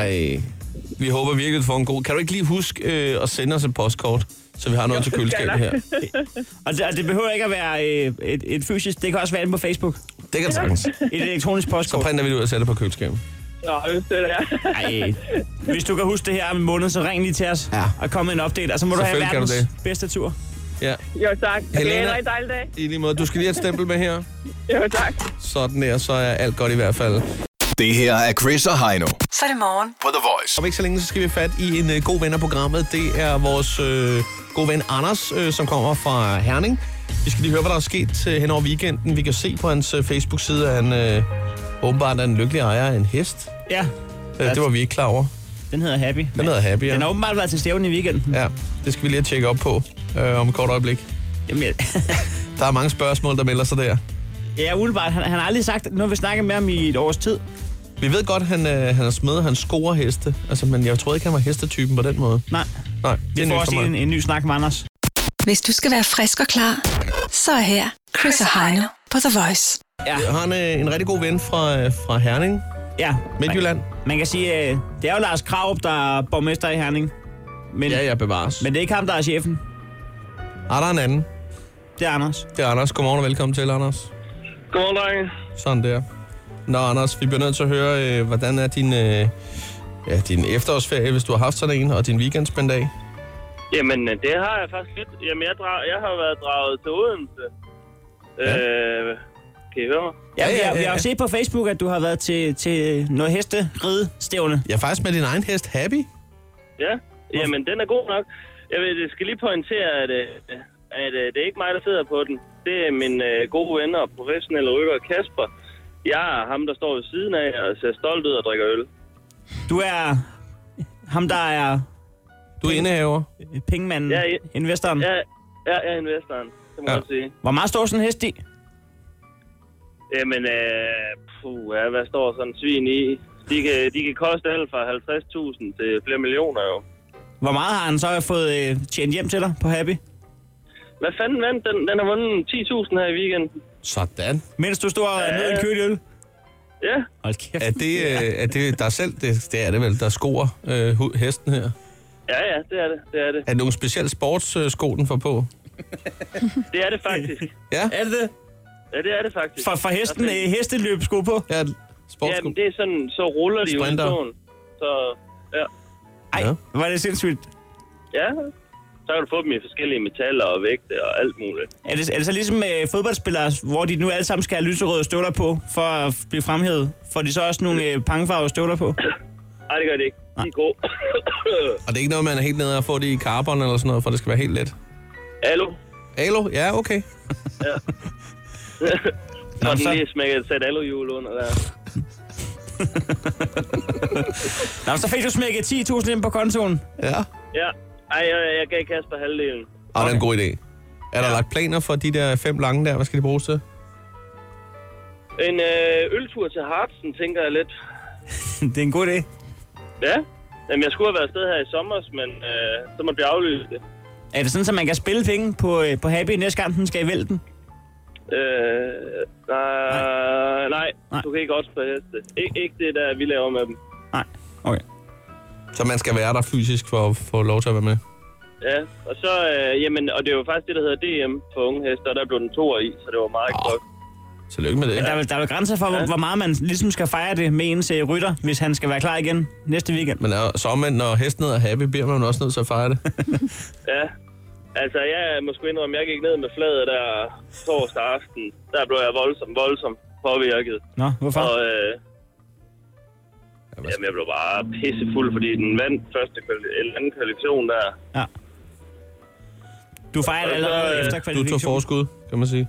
Speaker 2: Ej, vi håber virkelig, du får en god... Kan du ikke lige huske øh, at sende os et postkort, så vi har noget til køleskabet her?
Speaker 3: Og det, og det behøver ikke at være øh, et, et fysisk, det kan også være inde på Facebook.
Speaker 2: Det kan det sagtens.
Speaker 3: Et elektronisk postkort.
Speaker 2: Så printer vi det ud og sætter på køleskabet.
Speaker 9: Nå, det støtter jeg.
Speaker 3: Ej. Hvis du kan huske det her om en måned, så ring lige til os ja. og kom med en update. Og så må du have
Speaker 2: Selvfølgelig kan du
Speaker 3: verdens bedste tur.
Speaker 2: Ja.
Speaker 9: Jo, tak. Okay,
Speaker 2: Helena.
Speaker 9: Helena. en rigtig dejlig dag.
Speaker 2: I lige måde, du skal lige have et stempel med her.
Speaker 9: Jo, tak.
Speaker 2: Sådan der, så er alt godt i hvert fald.
Speaker 4: Det her er Chris og Heino.
Speaker 5: Så er det morgen.
Speaker 4: På The Voice.
Speaker 2: Om ikke så længe, så skal vi fat i en øh, god ven af programmet. Det er vores øh, god ven Anders, øh, som kommer fra Herning. Vi skal lige høre, hvad der er sket øh, hen over weekenden. Vi kan se på hans øh, Facebook-side, at han øh, åbenbart er en lykkelig ejer af en hest.
Speaker 3: Ja.
Speaker 2: Øh, det var vi ikke klar over.
Speaker 3: Den hedder Happy.
Speaker 2: Den hedder Happy, ja.
Speaker 3: Den har åbenbart været til stævnen i weekenden.
Speaker 2: Ja, det skal vi lige have tjekket op på øh, om et kort øjeblik.
Speaker 3: Jamen, jeg...
Speaker 2: der er mange spørgsmål, der melder sig der.
Speaker 3: Ja, umiddelbart. Han, han har aldrig sagt, nu har vi snakket med ham i et års tid.
Speaker 2: Vi ved godt, han, øh, han er smed, han scorer heste. Altså, men jeg troede ikke, han var hestetypen på den måde.
Speaker 3: Nej.
Speaker 2: Nej,
Speaker 3: Vi
Speaker 2: det er
Speaker 3: får
Speaker 2: nyt
Speaker 3: også
Speaker 2: for
Speaker 3: lige
Speaker 2: mig.
Speaker 3: en, en ny snak med Anders.
Speaker 5: Hvis du skal være frisk og klar, så er her Chris og Heino på The Voice.
Speaker 3: Ja.
Speaker 2: Jeg har en, øh, en rigtig god ven fra, øh, fra Herning,
Speaker 3: Ja.
Speaker 2: Midtjylland.
Speaker 3: Man, man kan sige, øh, det er jo Lars Kravup, der er borgmester i Herning. Men,
Speaker 2: Ja, jeg bevares. Men...
Speaker 3: men det er ikke ham, der er chefen.
Speaker 2: Er der en anden?
Speaker 3: Det er Anders.
Speaker 2: Det er Anders. Godmorgen og velkommen til, Anders.
Speaker 7: Godmorgen, drenge.
Speaker 2: Sådan der. Nå, Anders, vi bliver nødt til at høre, øh, hvordan er din, øh, ja, din efterårsferie, hvis du har haft sådan en, og din weekendspændag?
Speaker 7: Jamen, øh, det har jeg faktisk lidt. Jamen, jeg, drag, jeg har jo været draget til Odense. Ja. Øh, kan I høre mig?
Speaker 3: Ja,
Speaker 2: ja,
Speaker 3: vi,
Speaker 2: ja,
Speaker 3: har, vi har
Speaker 2: ja.
Speaker 3: jo set på Facebook, at du har været til, til noget hesteride-stævne.
Speaker 2: Ja, faktisk med din egen hest, Happy.
Speaker 7: Ja, jamen, den er god nok. Jeg ved, jeg skal lige pointere, at, øh, at øh, det er ikke mig, der sidder på den. Det er min øh, gode ven og professionelle rykker Kasper. Jeg er ham, der står ved siden af og ser stolt ud og drikker øl.
Speaker 3: Du er ham, der er
Speaker 2: Du er indehaver.
Speaker 3: pengemanden, ja,
Speaker 7: Ja,
Speaker 3: ja.
Speaker 7: ja.
Speaker 3: investoren. Ja.
Speaker 7: Jeg, jeg er investoren, det må
Speaker 2: Ja.
Speaker 7: ja. man sige.
Speaker 3: Hvor meget står sådan en hest i?
Speaker 7: Jamen, øh, puh, ja, hvad står sådan en svin i? De kan, de kan koste alt fra 50.000 til flere millioner jo.
Speaker 3: Hvor meget har han så fået øh, tjent hjem til dig på Happy?
Speaker 7: Hvad fanden vandt den? Den har vundet 10.000 her i weekenden.
Speaker 2: Sådan.
Speaker 3: Mens du stod og ja. nede i en kølig øl?
Speaker 7: Ja,
Speaker 3: Hold kæft.
Speaker 2: Er det, øh, er det der selv? Det, det er det vel, der skoer øh, hu- hesten her.
Speaker 7: ja, ja, det er det, det er det.
Speaker 2: Er det nogle specielle sportssko, den får på?
Speaker 7: Det er det faktisk.
Speaker 2: Ja,
Speaker 3: Er det det?
Speaker 7: Ja, det er det faktisk.
Speaker 3: For, for hesten,
Speaker 7: Okay.
Speaker 3: øh, hesteløb sko på?
Speaker 2: ja sportssko.
Speaker 7: Jamen, det er sådan, så ruller de jo i
Speaker 2: Sprinter.
Speaker 7: solen. Så, ja.
Speaker 3: Ej,
Speaker 2: Ja.
Speaker 3: ja. var det sindssygt.
Speaker 7: ja, så kan du få dem i forskellige metaller og vægte og alt muligt.
Speaker 3: Er det, er det så ligesom med fodboldspillere, hvor de nu alle sammen skal have lyserøde støvler på, for at blive fremhævet? Får de så også nogle øh, pangefarvede støvler på?
Speaker 7: Nej, det gør det ikke. De er gode.
Speaker 2: Og det er ikke noget, man er helt nede og få det i carbon eller sådan noget, for det skal være helt let.
Speaker 7: Hallo?
Speaker 2: Alo? Ja, okay.
Speaker 7: Nå,
Speaker 3: Nå,
Speaker 7: den
Speaker 3: så-
Speaker 7: lige smækket sat aluhjul under der.
Speaker 3: Nå, så fik du smækket 10.000 ind på kontoen.
Speaker 2: Ja.
Speaker 7: Ja. Ej, jeg, jeg gav Kasper halvdelen.
Speaker 2: Og det er en god idé. Er der lagt planer for de der fem lange der? Hvad skal de bruges til?
Speaker 7: En øh, øltur til Hartsen, tænker jeg lidt.
Speaker 3: det er en god idé.
Speaker 7: Ja. Jamen, jeg skulle have været afsted her i sommer, men øh, så måtte vi aflyse det.
Speaker 3: Er det sådan, at man kan spille penge på, øh, på Happy næste gang, den skal i vælten?
Speaker 7: Øh, nej, nej,
Speaker 3: Nej.
Speaker 7: du kan ikke også på heste. Ik- ikke det der, vi laver med dem.
Speaker 3: Nej. Okay.
Speaker 2: Så man skal være der fysisk for at få lov til at være med.
Speaker 7: Ja, og så, øh, jamen, og det er jo faktisk det, der hedder DM for unge heste, og der blev den to i, så det var meget
Speaker 2: Åh.
Speaker 7: godt.
Speaker 2: Tillykke med det.
Speaker 3: Men der, er vel- der er jo grænser for, hvor, hvor meget man ligesom skal fejre det med ens øh, rytter, hvis han skal være klar igen næste weekend.
Speaker 2: Men er, så omvendt, når hesten er happy, bliver man jo også nødt til at fejre det.
Speaker 7: Ja. Altså, jeg må sgu indrømme, jeg gik ned med fladet der torsdag aften. Der blev jeg voldsomt, voldsomt påvirket.
Speaker 3: Nå, hvorfor?
Speaker 7: Og øh,
Speaker 2: hvad
Speaker 7: jamen, jeg blev bare pissefuld, fordi den vandt første kvali- eller anden kvalifikation der.
Speaker 3: Ja. Du fejrer det
Speaker 7: Og så,
Speaker 3: allerede
Speaker 7: øh,
Speaker 3: efter
Speaker 2: Du tog
Speaker 3: kvalifikation.
Speaker 2: forskud, kan man sige.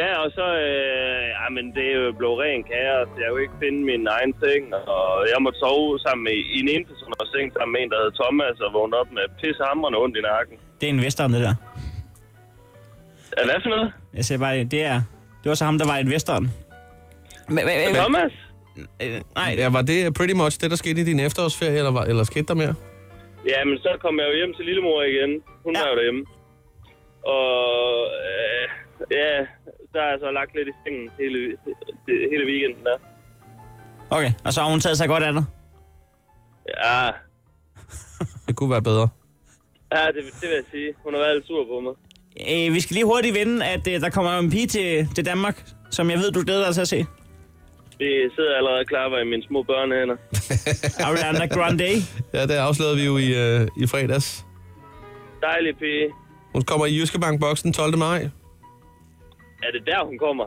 Speaker 7: Ja, og så, øh, jamen, det er jo blevet ren kaos. Jeg kunne ikke finde min egen seng, og jeg måtte sove sammen med i en enpersoners seng sammen med en, der hed Thomas, og vågnede op med pissehamrende ondt i nakken.
Speaker 3: Det er investoren, det der.
Speaker 7: Ja, hvad for noget?
Speaker 3: Jeg siger bare, det er... Det var så ham, der var investoren. Men, men,
Speaker 7: Thomas?
Speaker 3: øh, nej,
Speaker 2: Ja, var det pretty much det, der skete i din efterårsferie, eller, var, eller skete der mere?
Speaker 7: Jamen, så kom jeg jo hjem til lillemor igen. Hun
Speaker 3: Ja.
Speaker 7: ja. var jo derhjemme. Og øh, ja, der er jeg så lagt lidt i sengen hele, hele weekenden der.
Speaker 3: Okay, og så har hun taget sig godt af dig.
Speaker 7: Ja,
Speaker 2: Det kunne være bedre.
Speaker 7: ja det, det vil jeg sige. Hun har været lidt sur på mig.
Speaker 3: Øh, vi skal lige hurtigt vende, at øh, der kommer en pige til, til Danmark, som jeg ved, du glæder dig til at se.
Speaker 7: Vi sidder allerede og klapper i mine små børnehænder.
Speaker 3: Ariana Grande.
Speaker 2: Ja, det afslørede vi jo i, øh, i fredags.
Speaker 7: Dejlig pige.
Speaker 2: Hun kommer i Jyske Bank Boksen 12. maj.
Speaker 7: Er det der, hun kommer?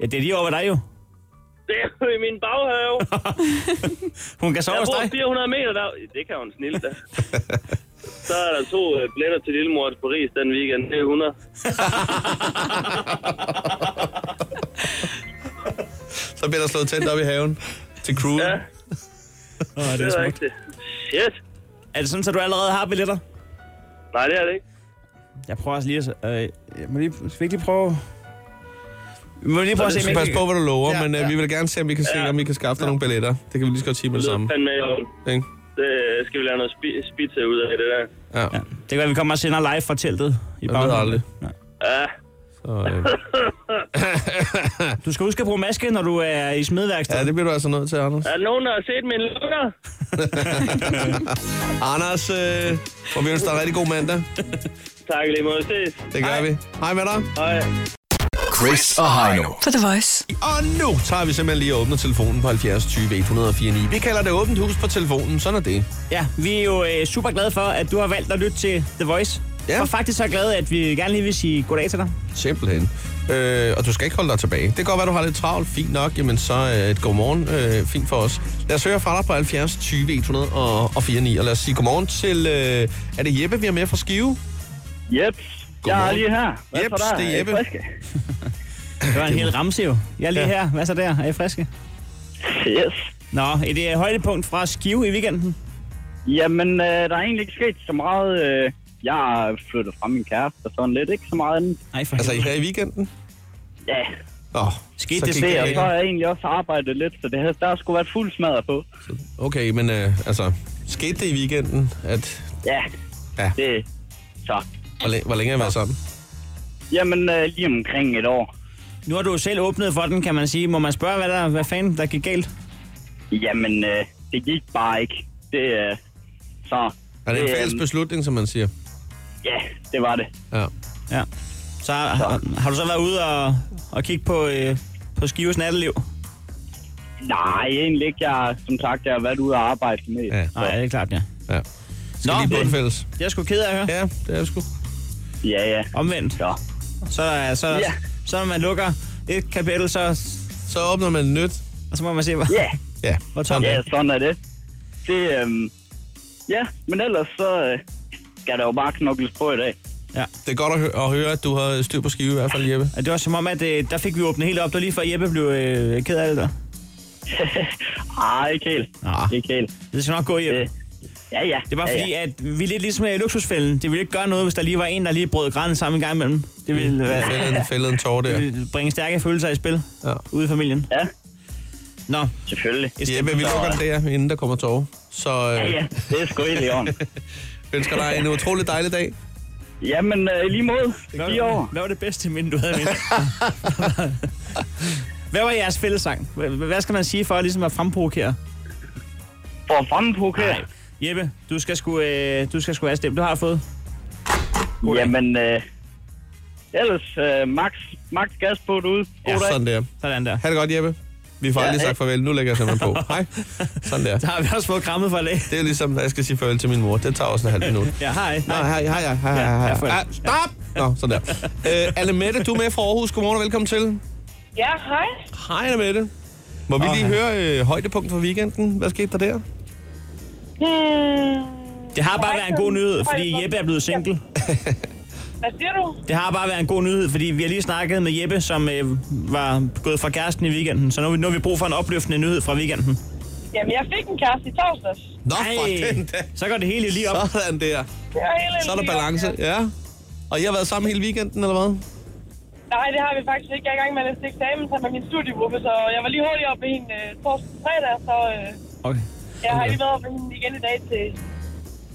Speaker 3: Ja, det er lige over ved dig jo.
Speaker 7: Det er jo i min baghave.
Speaker 3: Hun kan sove
Speaker 7: jeg
Speaker 3: hos dig.
Speaker 7: bor 400 meter der. Det kan hun snille da. Så er der to øh, billetter til Lillemor til Paris den weekend. Det er 100.
Speaker 2: Så bliver der slået tændt op i haven til crewen. Ja.
Speaker 3: Åh, det er
Speaker 7: Det er
Speaker 3: smukt.
Speaker 7: rigtigt. Shit.
Speaker 3: Er det sådan, at du allerede har billetter?
Speaker 7: Nej, det er det ikke.
Speaker 3: Jeg prøver også lige at... Øh, jeg må lige, skal vi ikke lige prøve... Vi må lige
Speaker 2: Så
Speaker 3: prøve at se,
Speaker 2: du
Speaker 3: om
Speaker 2: skal
Speaker 3: jeg
Speaker 2: passe
Speaker 3: kan-
Speaker 2: på, hvad du lover,
Speaker 3: Ja,
Speaker 2: ja, men øh,
Speaker 3: ja.
Speaker 2: vi vil gerne se, om vi kan, se,
Speaker 7: Ja.
Speaker 2: om vi kan skaffe dig nogle billetter. Det kan vi lige så godt sige med det
Speaker 7: Det
Speaker 2: samme.
Speaker 7: er fandme i orden.
Speaker 2: Ikke?
Speaker 7: Det øh, skal vi lave noget spi- spidse ud af det der.
Speaker 2: Ja.
Speaker 3: Det kan være, vi kommer og sender live fra teltet. I
Speaker 2: Jeg ved
Speaker 3: baggrunden.
Speaker 2: aldrig.
Speaker 7: Ja,
Speaker 2: Så, øh,
Speaker 3: Du skal huske at bruge maske, når du er i smedværkstedet.
Speaker 2: ja, det bliver du altså nødt til, Anders.
Speaker 7: er der nogen, der har set mine lukker?
Speaker 2: Anders, øh, må vi ønske dig en rigtig god mandag.
Speaker 7: Tak i lige måde. Ses.
Speaker 2: Det gør vi. Hej med dig.
Speaker 7: Hej.
Speaker 4: Chris og Heino.
Speaker 5: På The Voice.
Speaker 2: Og nu tager vi simpelthen lige og åbner telefonen på 70 20 104 9. Vi kalder det åbent hus på telefonen, sådan er det.
Speaker 3: Ja, vi er jo øh, super glade for, at du har valgt at lytte til The Voice.
Speaker 2: Ja.
Speaker 3: Og faktisk så glade, at vi gerne lige vil sige goddag til dig.
Speaker 2: Simpelthen. Øh, og du skal ikke holde dig tilbage. Det kan godt være, du har lidt travlt. Fint nok. Jamen så øh, et godmorgen. Øh, fint for os. Lad os høre fra dig på 70 20 104 9. Og lad os sige godmorgen til... Øh, er det Jeppe, vi har med fra Skive?
Speaker 12: Jeps, jeg er
Speaker 2: Godmorgen.
Speaker 12: lige her. Hvad
Speaker 2: Jeps,
Speaker 12: så der?
Speaker 2: det er
Speaker 12: I
Speaker 2: Jeppe.
Speaker 12: friske?
Speaker 3: Det var en hel ramse jo. Jeg er lige ja. her. Hvad så der? Er I friske?
Speaker 12: Yes.
Speaker 3: Nå, et øh, højdepunkt fra Skive i weekenden.
Speaker 12: Jamen, øh, der er egentlig ikke sket så meget. Øh, jeg er flyttet fra min kæreste og sådan lidt. Ikke så meget andet.
Speaker 3: Nej, for
Speaker 2: Altså, I
Speaker 3: helvede.
Speaker 2: her i weekenden?
Speaker 12: Ja,
Speaker 2: Nå,
Speaker 3: Skete
Speaker 2: så
Speaker 3: det
Speaker 2: gik
Speaker 12: det, og
Speaker 2: ikke.
Speaker 12: så har jeg egentlig også arbejdet lidt, så det her, der har sgu været fuld smadret på.
Speaker 2: Okay, men øh, altså... Skete det i weekenden, at...
Speaker 12: Ja,
Speaker 2: Ja.
Speaker 12: det så.
Speaker 2: Hvor, læ- hvor længe har I været sammen?
Speaker 12: Jamen, øh, lige omkring et år.
Speaker 3: Nu har du jo selv åbnet for den, kan man sige. Må man spørge, hvad, der, hvad fanden der gik galt?
Speaker 12: Jamen, øh, det gik bare ikke. Det, øh, så.
Speaker 2: Er det en
Speaker 12: øh,
Speaker 2: fælles beslutning, som man siger?
Speaker 12: Ja, det var det.
Speaker 2: Ja.
Speaker 3: Ja. Så har, har du så været ude og, og kigge på, øh, på Skives natteliv?
Speaker 12: Nej, egentlig ikke. Jeg, som sagt, jeg har været ude og arbejde med.
Speaker 2: Ja.
Speaker 3: Nej, det er klart, ja.
Speaker 2: ja. Skal
Speaker 3: Nå,
Speaker 2: Nå, lige på en
Speaker 3: det-
Speaker 2: fælles?
Speaker 3: Jeg er sgu ked af at høre.
Speaker 2: Ja, det er jeg sgu.
Speaker 12: Ja, ja.
Speaker 3: Omvendt.
Speaker 12: Så.
Speaker 3: Så, er- så,
Speaker 12: Ja.
Speaker 3: så når man lukker et kapitel, så,
Speaker 2: Så åbner man et nyt.
Speaker 3: og så må man se, hvor,
Speaker 12: Ja.
Speaker 2: Ja.
Speaker 3: hvor tom
Speaker 12: Ja, sådan er det. Det, øhm, ja, men ellers så øh, skal der jo bare knokles på i dag.
Speaker 2: Det er godt at, hø- at høre, at du har styr på skive i hvert fald, Jeppe.
Speaker 3: Ja, Det var som om, at øh, der fik vi åbnet helt op. Det var lige før Jeppe blev øh, ked af det der.
Speaker 12: Ej, ikke helt.
Speaker 3: Ah.
Speaker 12: Ikke helt.
Speaker 3: Det skal nok gå, Jeppe.
Speaker 12: Øh, ja, ja.
Speaker 3: Det var
Speaker 12: ja,
Speaker 3: fordi,
Speaker 12: ja.
Speaker 3: at vi er lidt ligesom i luksusfælden. Det ville ikke gøre noget, hvis der lige var en, der lige brød græn sammen en gang imellem. Det ville, være,
Speaker 2: Fældet en, fældet en tårer der.
Speaker 3: det ville bringe stærke følelser i spil
Speaker 2: Ja.
Speaker 3: ude i familien.
Speaker 12: Ja,
Speaker 3: Nå,
Speaker 12: selvfølgelig.
Speaker 3: et
Speaker 2: Jeppe, vi lukker den der, inden der kommer tårer. Så
Speaker 12: Ja,
Speaker 2: øh,
Speaker 12: ja. Det er sgu helt i orden.
Speaker 2: ønsker dig en utrolig dejlig dag.
Speaker 12: Jamen, øh, i lige mod.
Speaker 3: Hvad,
Speaker 12: Lige over.
Speaker 3: hvad var det bedste minde, du havde med? hvad var jeres fællesang? Hvad, hvad skal man sige for ligesom at fremprovokere?
Speaker 12: For at fremprovokere.
Speaker 3: Jeppe, du skal sgu, øh, du skal sgu have stemt. Du har fået.
Speaker 12: Jamen, øh, ellers øh, max, max gas på det ud. God
Speaker 2: Ja,
Speaker 12: dag.
Speaker 2: sådan der.
Speaker 3: Sådan der.
Speaker 2: Ha' det godt, Jeppe. Vi får
Speaker 12: Ja,
Speaker 2: aldrig
Speaker 12: hej.
Speaker 2: sagt farvel. Nu lægger jeg simpelthen på. Hej. Sådan der.
Speaker 3: Der har vi også fået krammet for i dag.
Speaker 2: Det er ligesom, når jeg skal sige farvel til min mor. Det tager også en halv minut.
Speaker 3: Ja, hej.
Speaker 2: Nå, hej, hej, hej, hej,
Speaker 3: Ja,
Speaker 2: hej,
Speaker 3: jeg får det.
Speaker 2: hej. Ah, Stop! Nå, sådan der. Øh, Anne Mette, du er med fra Aarhus. Godmorgen og velkommen til.
Speaker 9: Ja, hej.
Speaker 2: Hej, Anne Mette. Må vi
Speaker 3: Åh,
Speaker 2: lige
Speaker 3: ja.
Speaker 2: høre øh, højdepunkt fra weekenden? Hvad skete der der?
Speaker 9: Hmm.
Speaker 3: Det har bare været en god nyhed, fordi Jeppe er blevet single.
Speaker 9: Hvad siger du?
Speaker 3: Det har bare været en god nyhed, fordi vi har lige snakket med Jeppe, som øh, var gået fra kæresten i weekenden. Så nu, har vi- nu har vi brug for en opløftende nyhed fra weekenden.
Speaker 9: Jamen, jeg fik en kæreste i torsdags.
Speaker 2: Nå, for den da.
Speaker 3: så går det hele lige op.
Speaker 2: Sådan der.
Speaker 9: Det var helt
Speaker 2: Så er der
Speaker 9: vildt.
Speaker 2: balance, ja. Og I har været sammen hele weekenden, eller hvad?
Speaker 9: Nej, det har vi faktisk ikke. Jeg er i gang med at læse eksamen sammen med min studiegruppe, så jeg var lige hurtigt op med hende øh, torsdag og fredag, så øh,
Speaker 3: Okay.
Speaker 9: jeg har lige været op med hende igen i dag til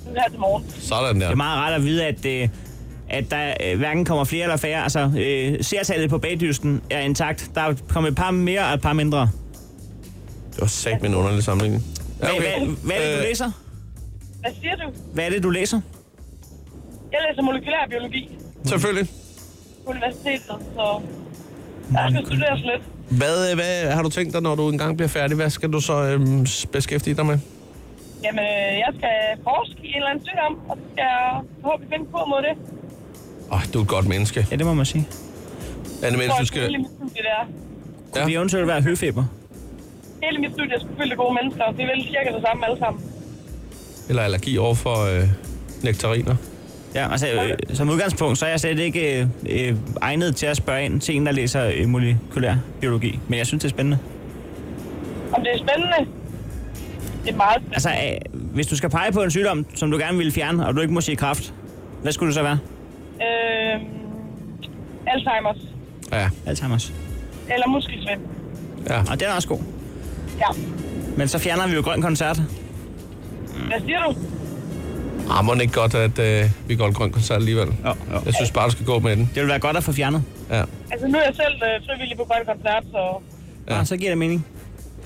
Speaker 9: nu her til morgen.
Speaker 2: Sådan der.
Speaker 3: Det er meget rart at vide, at, øh, at der øh, hverken kommer flere eller færre. Altså, øh, seertallet på bagdysten er intakt. Der er kommet et par mere og et par mindre.
Speaker 2: Det var sagt med en underlig sammenligning.
Speaker 3: Hvad, hvad, hvad er det, du
Speaker 2: Øh,
Speaker 3: læser?
Speaker 9: Hvad siger du?
Speaker 3: Hvad er det, du læser?
Speaker 9: Jeg læser molekylærbiologi
Speaker 2: Selvfølgelig.
Speaker 9: på universitetet, så jeg skal studeres lidt.
Speaker 2: Hvad, øh, hvad har du tænkt dig, når du engang bliver færdig? Hvad skal du så øhm, s- beskæftige dig med?
Speaker 9: Jamen, øh, jeg skal forske i en eller anden sygdom, og så skal jeg forhåbentlig finde på mod det.
Speaker 2: Åh, oh, du er et godt menneske.
Speaker 3: Ja, det må man sige.
Speaker 2: Anne, mens
Speaker 9: Tror
Speaker 2: du
Speaker 9: jeg,
Speaker 2: skal...
Speaker 9: Hele mit studie, det er.
Speaker 2: Ja.
Speaker 3: Vi eventuelt være høfeber.
Speaker 9: Hele mit studie er sgu fyldt af gode mennesker, og det er vel cirka det samme alle sammen.
Speaker 2: Eller allergi over for øh, nektariner.
Speaker 3: Ja, altså, øh, som udgangspunkt, så er jeg slet ikke øh, øh, egnet til at spørge ind til en, der læser øh, molekylær biologi. Men jeg synes, det er spændende.
Speaker 9: Om det er spændende? Det er meget
Speaker 3: Altså, øh, hvis du skal pege på en sygdom, som du gerne vil fjerne, og du ikke må sige kraft, hvad skulle det så være?
Speaker 9: Øh, Alzheimer's.
Speaker 2: Ja.
Speaker 3: Alzheimer's.
Speaker 9: Eller muskelsvind.
Speaker 2: Ja.
Speaker 3: Og den er også god.
Speaker 9: Ja.
Speaker 3: Men så fjerner vi jo Grøn Koncert.
Speaker 9: Hvad siger du?
Speaker 2: Ah, må den ikke godt, at øh, vi går en grøn koncert alligevel?
Speaker 3: Ja, ja.
Speaker 2: Jeg synes bare, du skal gå med den. Det
Speaker 3: ville være godt at få fjernet.
Speaker 2: Ja.
Speaker 9: Altså, nu er jeg selv øh, frivillig på Grøn Koncert, så
Speaker 2: ja.
Speaker 3: Ah, så giver det mening.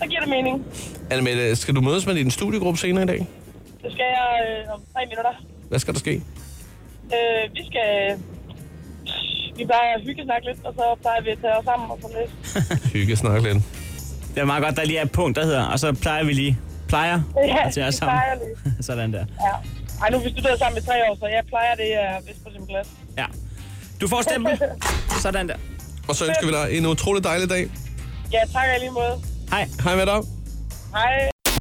Speaker 9: så giver det mening.
Speaker 2: Annemette, skal du mødes med din studiegruppe senere i dag?
Speaker 9: Så skal jeg øh, om tre minutter.
Speaker 2: Hvad skal der ske?
Speaker 9: Øh, vi skal... Vi plejer at hygge snakke lidt, og så plejer vi at tage os sammen og sådan lidt.
Speaker 2: Hygge snakke lidt.
Speaker 3: Det er meget godt, der lige er et punkt, der hedder, og så plejer vi lige. Plejer at tage os
Speaker 9: vi
Speaker 3: sammen.
Speaker 9: plejer lidt.
Speaker 3: Sådan der.
Speaker 9: Ja. Ej, nu har vi studeret sammen i tre år, så jeg plejer det øh, er vist på sin plads.
Speaker 3: Ja. Du får stempel. Sådan der.
Speaker 2: Og så ønsker vi dig en utrolig dejlig dag.
Speaker 9: Ja, tak og i lige måde.
Speaker 3: Hej.
Speaker 2: Hej med dig.
Speaker 9: Hej.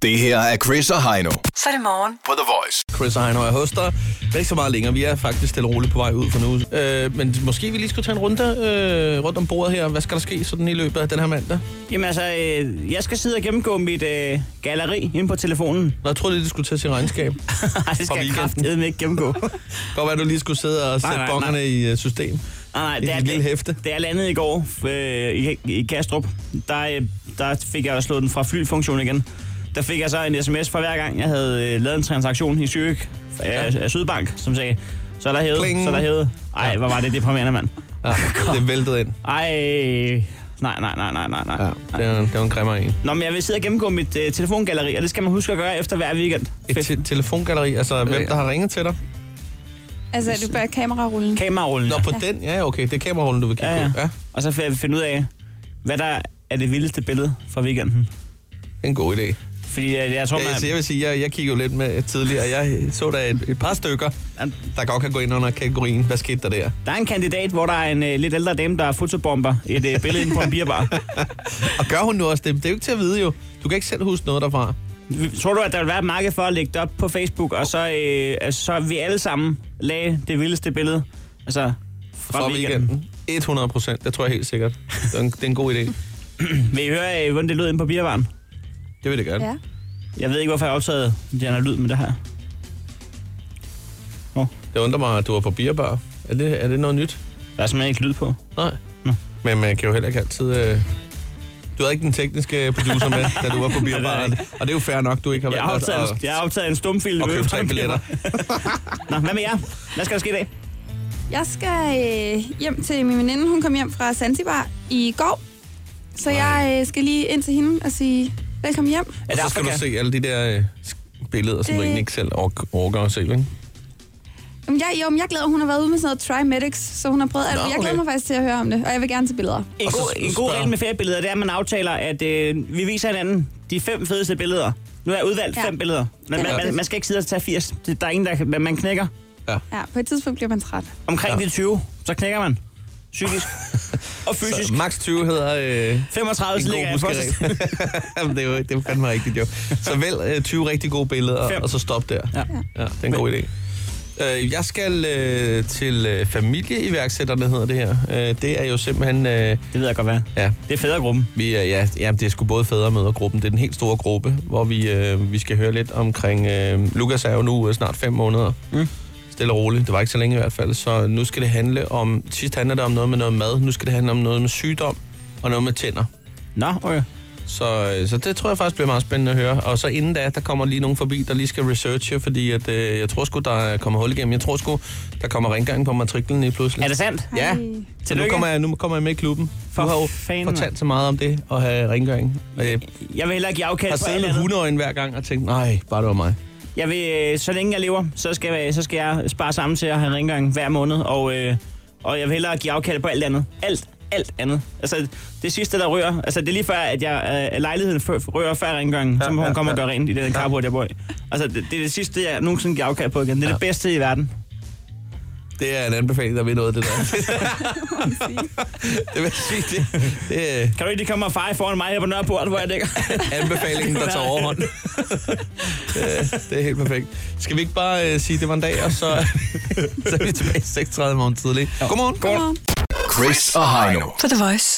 Speaker 4: Det her er Chris og Heino.
Speaker 5: Så er det morgen.
Speaker 4: På The Voice.
Speaker 2: Chris og Heino er hos dig. Det er ikke så meget længere. Vi er faktisk stille og roligt på vej ud for nu. Øh, men måske vi lige skulle tage en runde øh, rundt om bordet her. Hvad skal der ske sådan i løbet af den her mandag?
Speaker 3: Jamen altså, øh, jeg skal sidde og gennemgå mit øh, galleri inde på telefonen.
Speaker 2: Nå, jeg troede lige, du skulle tage sin regnskab.
Speaker 3: Nej, det skal jeg kraftedeme ikke gennemgå.
Speaker 2: Godt være, du lige skulle sidde og
Speaker 3: Nej,
Speaker 2: sætte
Speaker 3: nej,
Speaker 2: bongerne
Speaker 3: nej.
Speaker 2: i øh, system.
Speaker 3: Nej, nej,
Speaker 2: I
Speaker 3: det er
Speaker 2: dit lille
Speaker 3: hæfte. Det er landet i går øh, i, i Kastrup. Der, øh, der fik jeg slået den fra flyfunktion igen. Der fik jeg så en sms fra hver gang, jeg havde øh, lavet en transaktion i Zürich af, af Sydbank, som sagde, så er der hævet,
Speaker 2: Pling.
Speaker 3: så er der hævet. Ej, hvor var det deprimerende, mand.
Speaker 2: Ja, det væltede ind.
Speaker 3: Ej, nej, nej, nej, nej, nej, nej. Ja.
Speaker 2: Det er, det er en grimmer en.
Speaker 3: Nå, men jeg vil sidde og gennemgå mit øh, telefongalleri, og det skal man huske at gøre efter hver weekend.
Speaker 2: Et te- telefongalleri, altså
Speaker 3: Øh,
Speaker 2: hvem der har ringet til dig?
Speaker 6: Altså, er du bør kamerarullen.
Speaker 3: Kamerarullen.
Speaker 2: Nå, på den? Ja, okay. Det er kamerarullen, du vil kigge
Speaker 3: Ja, ja.
Speaker 2: på. Ja.
Speaker 3: Og så finder finde ud af, hvad der er det vildeste billede fra weekenden.
Speaker 2: En god idé.
Speaker 3: Fordi jeg, jeg tror,
Speaker 2: Ja, jeg,
Speaker 3: man...
Speaker 2: jeg vil sige, jeg, jeg kiggede jo lidt med tidligere. Jeg så der et, et par stykker, der godt kan gå ind under kategorien. Hvad skete der der?
Speaker 3: Der er en kandidat, hvor der er en øh, lidt ældre dame, der er fotobomber et øh, billede inde på en bierbar.
Speaker 2: Og gør hun nu også det? Det er jo ikke til at vide jo. Du kan ikke selv huske noget derfra.
Speaker 3: Tror du, at der vil være et marked for at lægge det op på Facebook, og så, øh, altså, så vi alle sammen lagde det vildeste billede? Altså, fra,
Speaker 2: Fra weekenden. 100 procent. Det tror jeg helt sikkert. Det er en, det er en god idé.
Speaker 3: Vil I høre, øh, hvordan det lød inde på biervaren?
Speaker 2: Det vil det gerne.
Speaker 6: Ja.
Speaker 3: Jeg ved ikke, hvorfor jeg optaget den her lyd med det her.
Speaker 2: Det undrer mig, at du var på bierbar. Er det, er det noget nyt?
Speaker 3: Der er simpelthen ikke lyd på.
Speaker 2: Nej. Men man kan jo heller ikke altid... Øh... Du havde ikke den tekniske producer med, da du var på bierbar. Og det er jo fair nok, du ikke har
Speaker 3: Jeg har
Speaker 2: valgt at-
Speaker 3: optaget, en- jeg har optaget en
Speaker 2: at,
Speaker 3: stumfilm.
Speaker 2: at
Speaker 3: ude
Speaker 2: købe
Speaker 3: fra
Speaker 2: tre
Speaker 3: en
Speaker 2: billetter.
Speaker 3: bierbar. Nå, hvad med jer? Hvad skal der ske i dag?
Speaker 6: Jeg skal øh, hjem til min veninde. Hun kom hjem fra Zanzibar i går. Så jeg øh, skal lige ind til hende og sige velkommen hjem.
Speaker 2: Og så skal du se alle de der øh, sk- billeder, som du
Speaker 6: Det-
Speaker 2: egentlig ikke selv ork- orker at se, ikke?
Speaker 6: Jamen, jeg, jo, men jeg glæder, hun har været ude med sådan noget Trimedics, så hun har prøvet alt.
Speaker 2: Nå,
Speaker 6: Jeg
Speaker 2: okay.
Speaker 6: glæder mig faktisk til at høre om det, og jeg vil gerne se billeder.
Speaker 3: En
Speaker 2: Og så
Speaker 3: god,
Speaker 2: skal du
Speaker 3: en god
Speaker 2: spørge-
Speaker 3: regel med feriebilleder, det er, at man aftaler, at øh, vi viser hinanden de fem fedeste billeder. Nu har jeg udvalgt
Speaker 6: Ja.
Speaker 3: ja. fem billeder. Men
Speaker 6: Det er
Speaker 3: man, man,
Speaker 6: rigtigt.
Speaker 3: man skal ikke sidde og tage 80. Det, der er ingen, der kan- man knækker.
Speaker 6: Ja, på et tidspunkt bliver man træt.
Speaker 3: Omkring ja. de 20, så knækker man. Psykisk og fysisk.
Speaker 2: Så max 20 hedder øh, en
Speaker 3: 35 så
Speaker 2: god
Speaker 3: ligger jeg på
Speaker 2: huskeregel. Jamen, det er jo det er fandme rigtigt, jo. Så vælg øh, 20 rigtig gode billeder,
Speaker 3: Fem.
Speaker 2: og så stop der.
Speaker 3: Ja.
Speaker 2: Ja, det er en god idé. Øh, jeg skal øh, til øh, familieiværksætterne, hedder det her. Øh, det er jo simpelthen... Øh,
Speaker 3: Det ved jeg godt, hvad. er.
Speaker 2: ja,
Speaker 3: Det er fædregruppen.
Speaker 2: Vi er, ja, ja, det er sgu både fædre- og mødergruppen. Det er den helt store gruppe, hvor vi, øh, vi skal høre lidt omkring... Øh, Lukas er jo nu øh, snart fem måneder.
Speaker 3: Mm.
Speaker 2: Stille og roligt. Det var ikke så længe i hvert fald. Så nu skal det handle om... Sidst handlede det om noget med noget mad. Nu skal det handle om noget med sygdom og noget med tænder.
Speaker 3: Nå, okay.
Speaker 2: Så, øh, så det tror jeg faktisk bliver meget spændende at høre. Og så inden da, der kommer lige nogen forbi, der lige skal researche, fordi at, øh, jeg tror sgu, der kommer hul igennem. Jeg tror sgu, der kommer rengøring på matriklen lige pludselig.
Speaker 3: Er det sandt?
Speaker 2: Ja. Så nu
Speaker 3: Tillykke.
Speaker 2: kommer, jeg, nu kommer jeg med i klubben. For du har jo fortalt så meget om det at have rengøring. Øh, Jeg,
Speaker 3: jeg vil heller ikke give afkald
Speaker 2: har
Speaker 3: på
Speaker 2: siddet
Speaker 3: alt
Speaker 2: med
Speaker 3: andet.
Speaker 2: hundeøjen hver gang og tænkt, nej, bare det var mig.
Speaker 3: Jeg vil, øh, så længe jeg lever, så skal, jeg- så skal jeg spare sammen til at have rengøring hver måned, og, øh, og jeg vil hellere give afkald på alt andet. Alt, alt andet. Altså, det sidste, der rører, altså det er lige før, at jeg, øh, lejligheden før, rører før rengøringen, ja, så må hun komme og gøre rent i den carport, jeg bor i. Altså, det, det er det sidste, jeg nogensinde giver afkald på igen. Det er ja. det bedste i verden.
Speaker 2: Det er en anbefaling, der vil noget, det der. det vil jeg sige, det, det
Speaker 3: Kan du ikke lige komme og feje foran mig her på Nørreport, hvor jeg dækker?
Speaker 2: er anbefalingen, der tager overhånd. det, det er helt perfekt. Skal vi ikke bare øh, sige, det var en dag, og så, så er vi tilbage 6.30 morgen tidlig. Godmorgen.
Speaker 6: Godmorgen.
Speaker 4: Chris og Heino.
Speaker 5: På The Voice.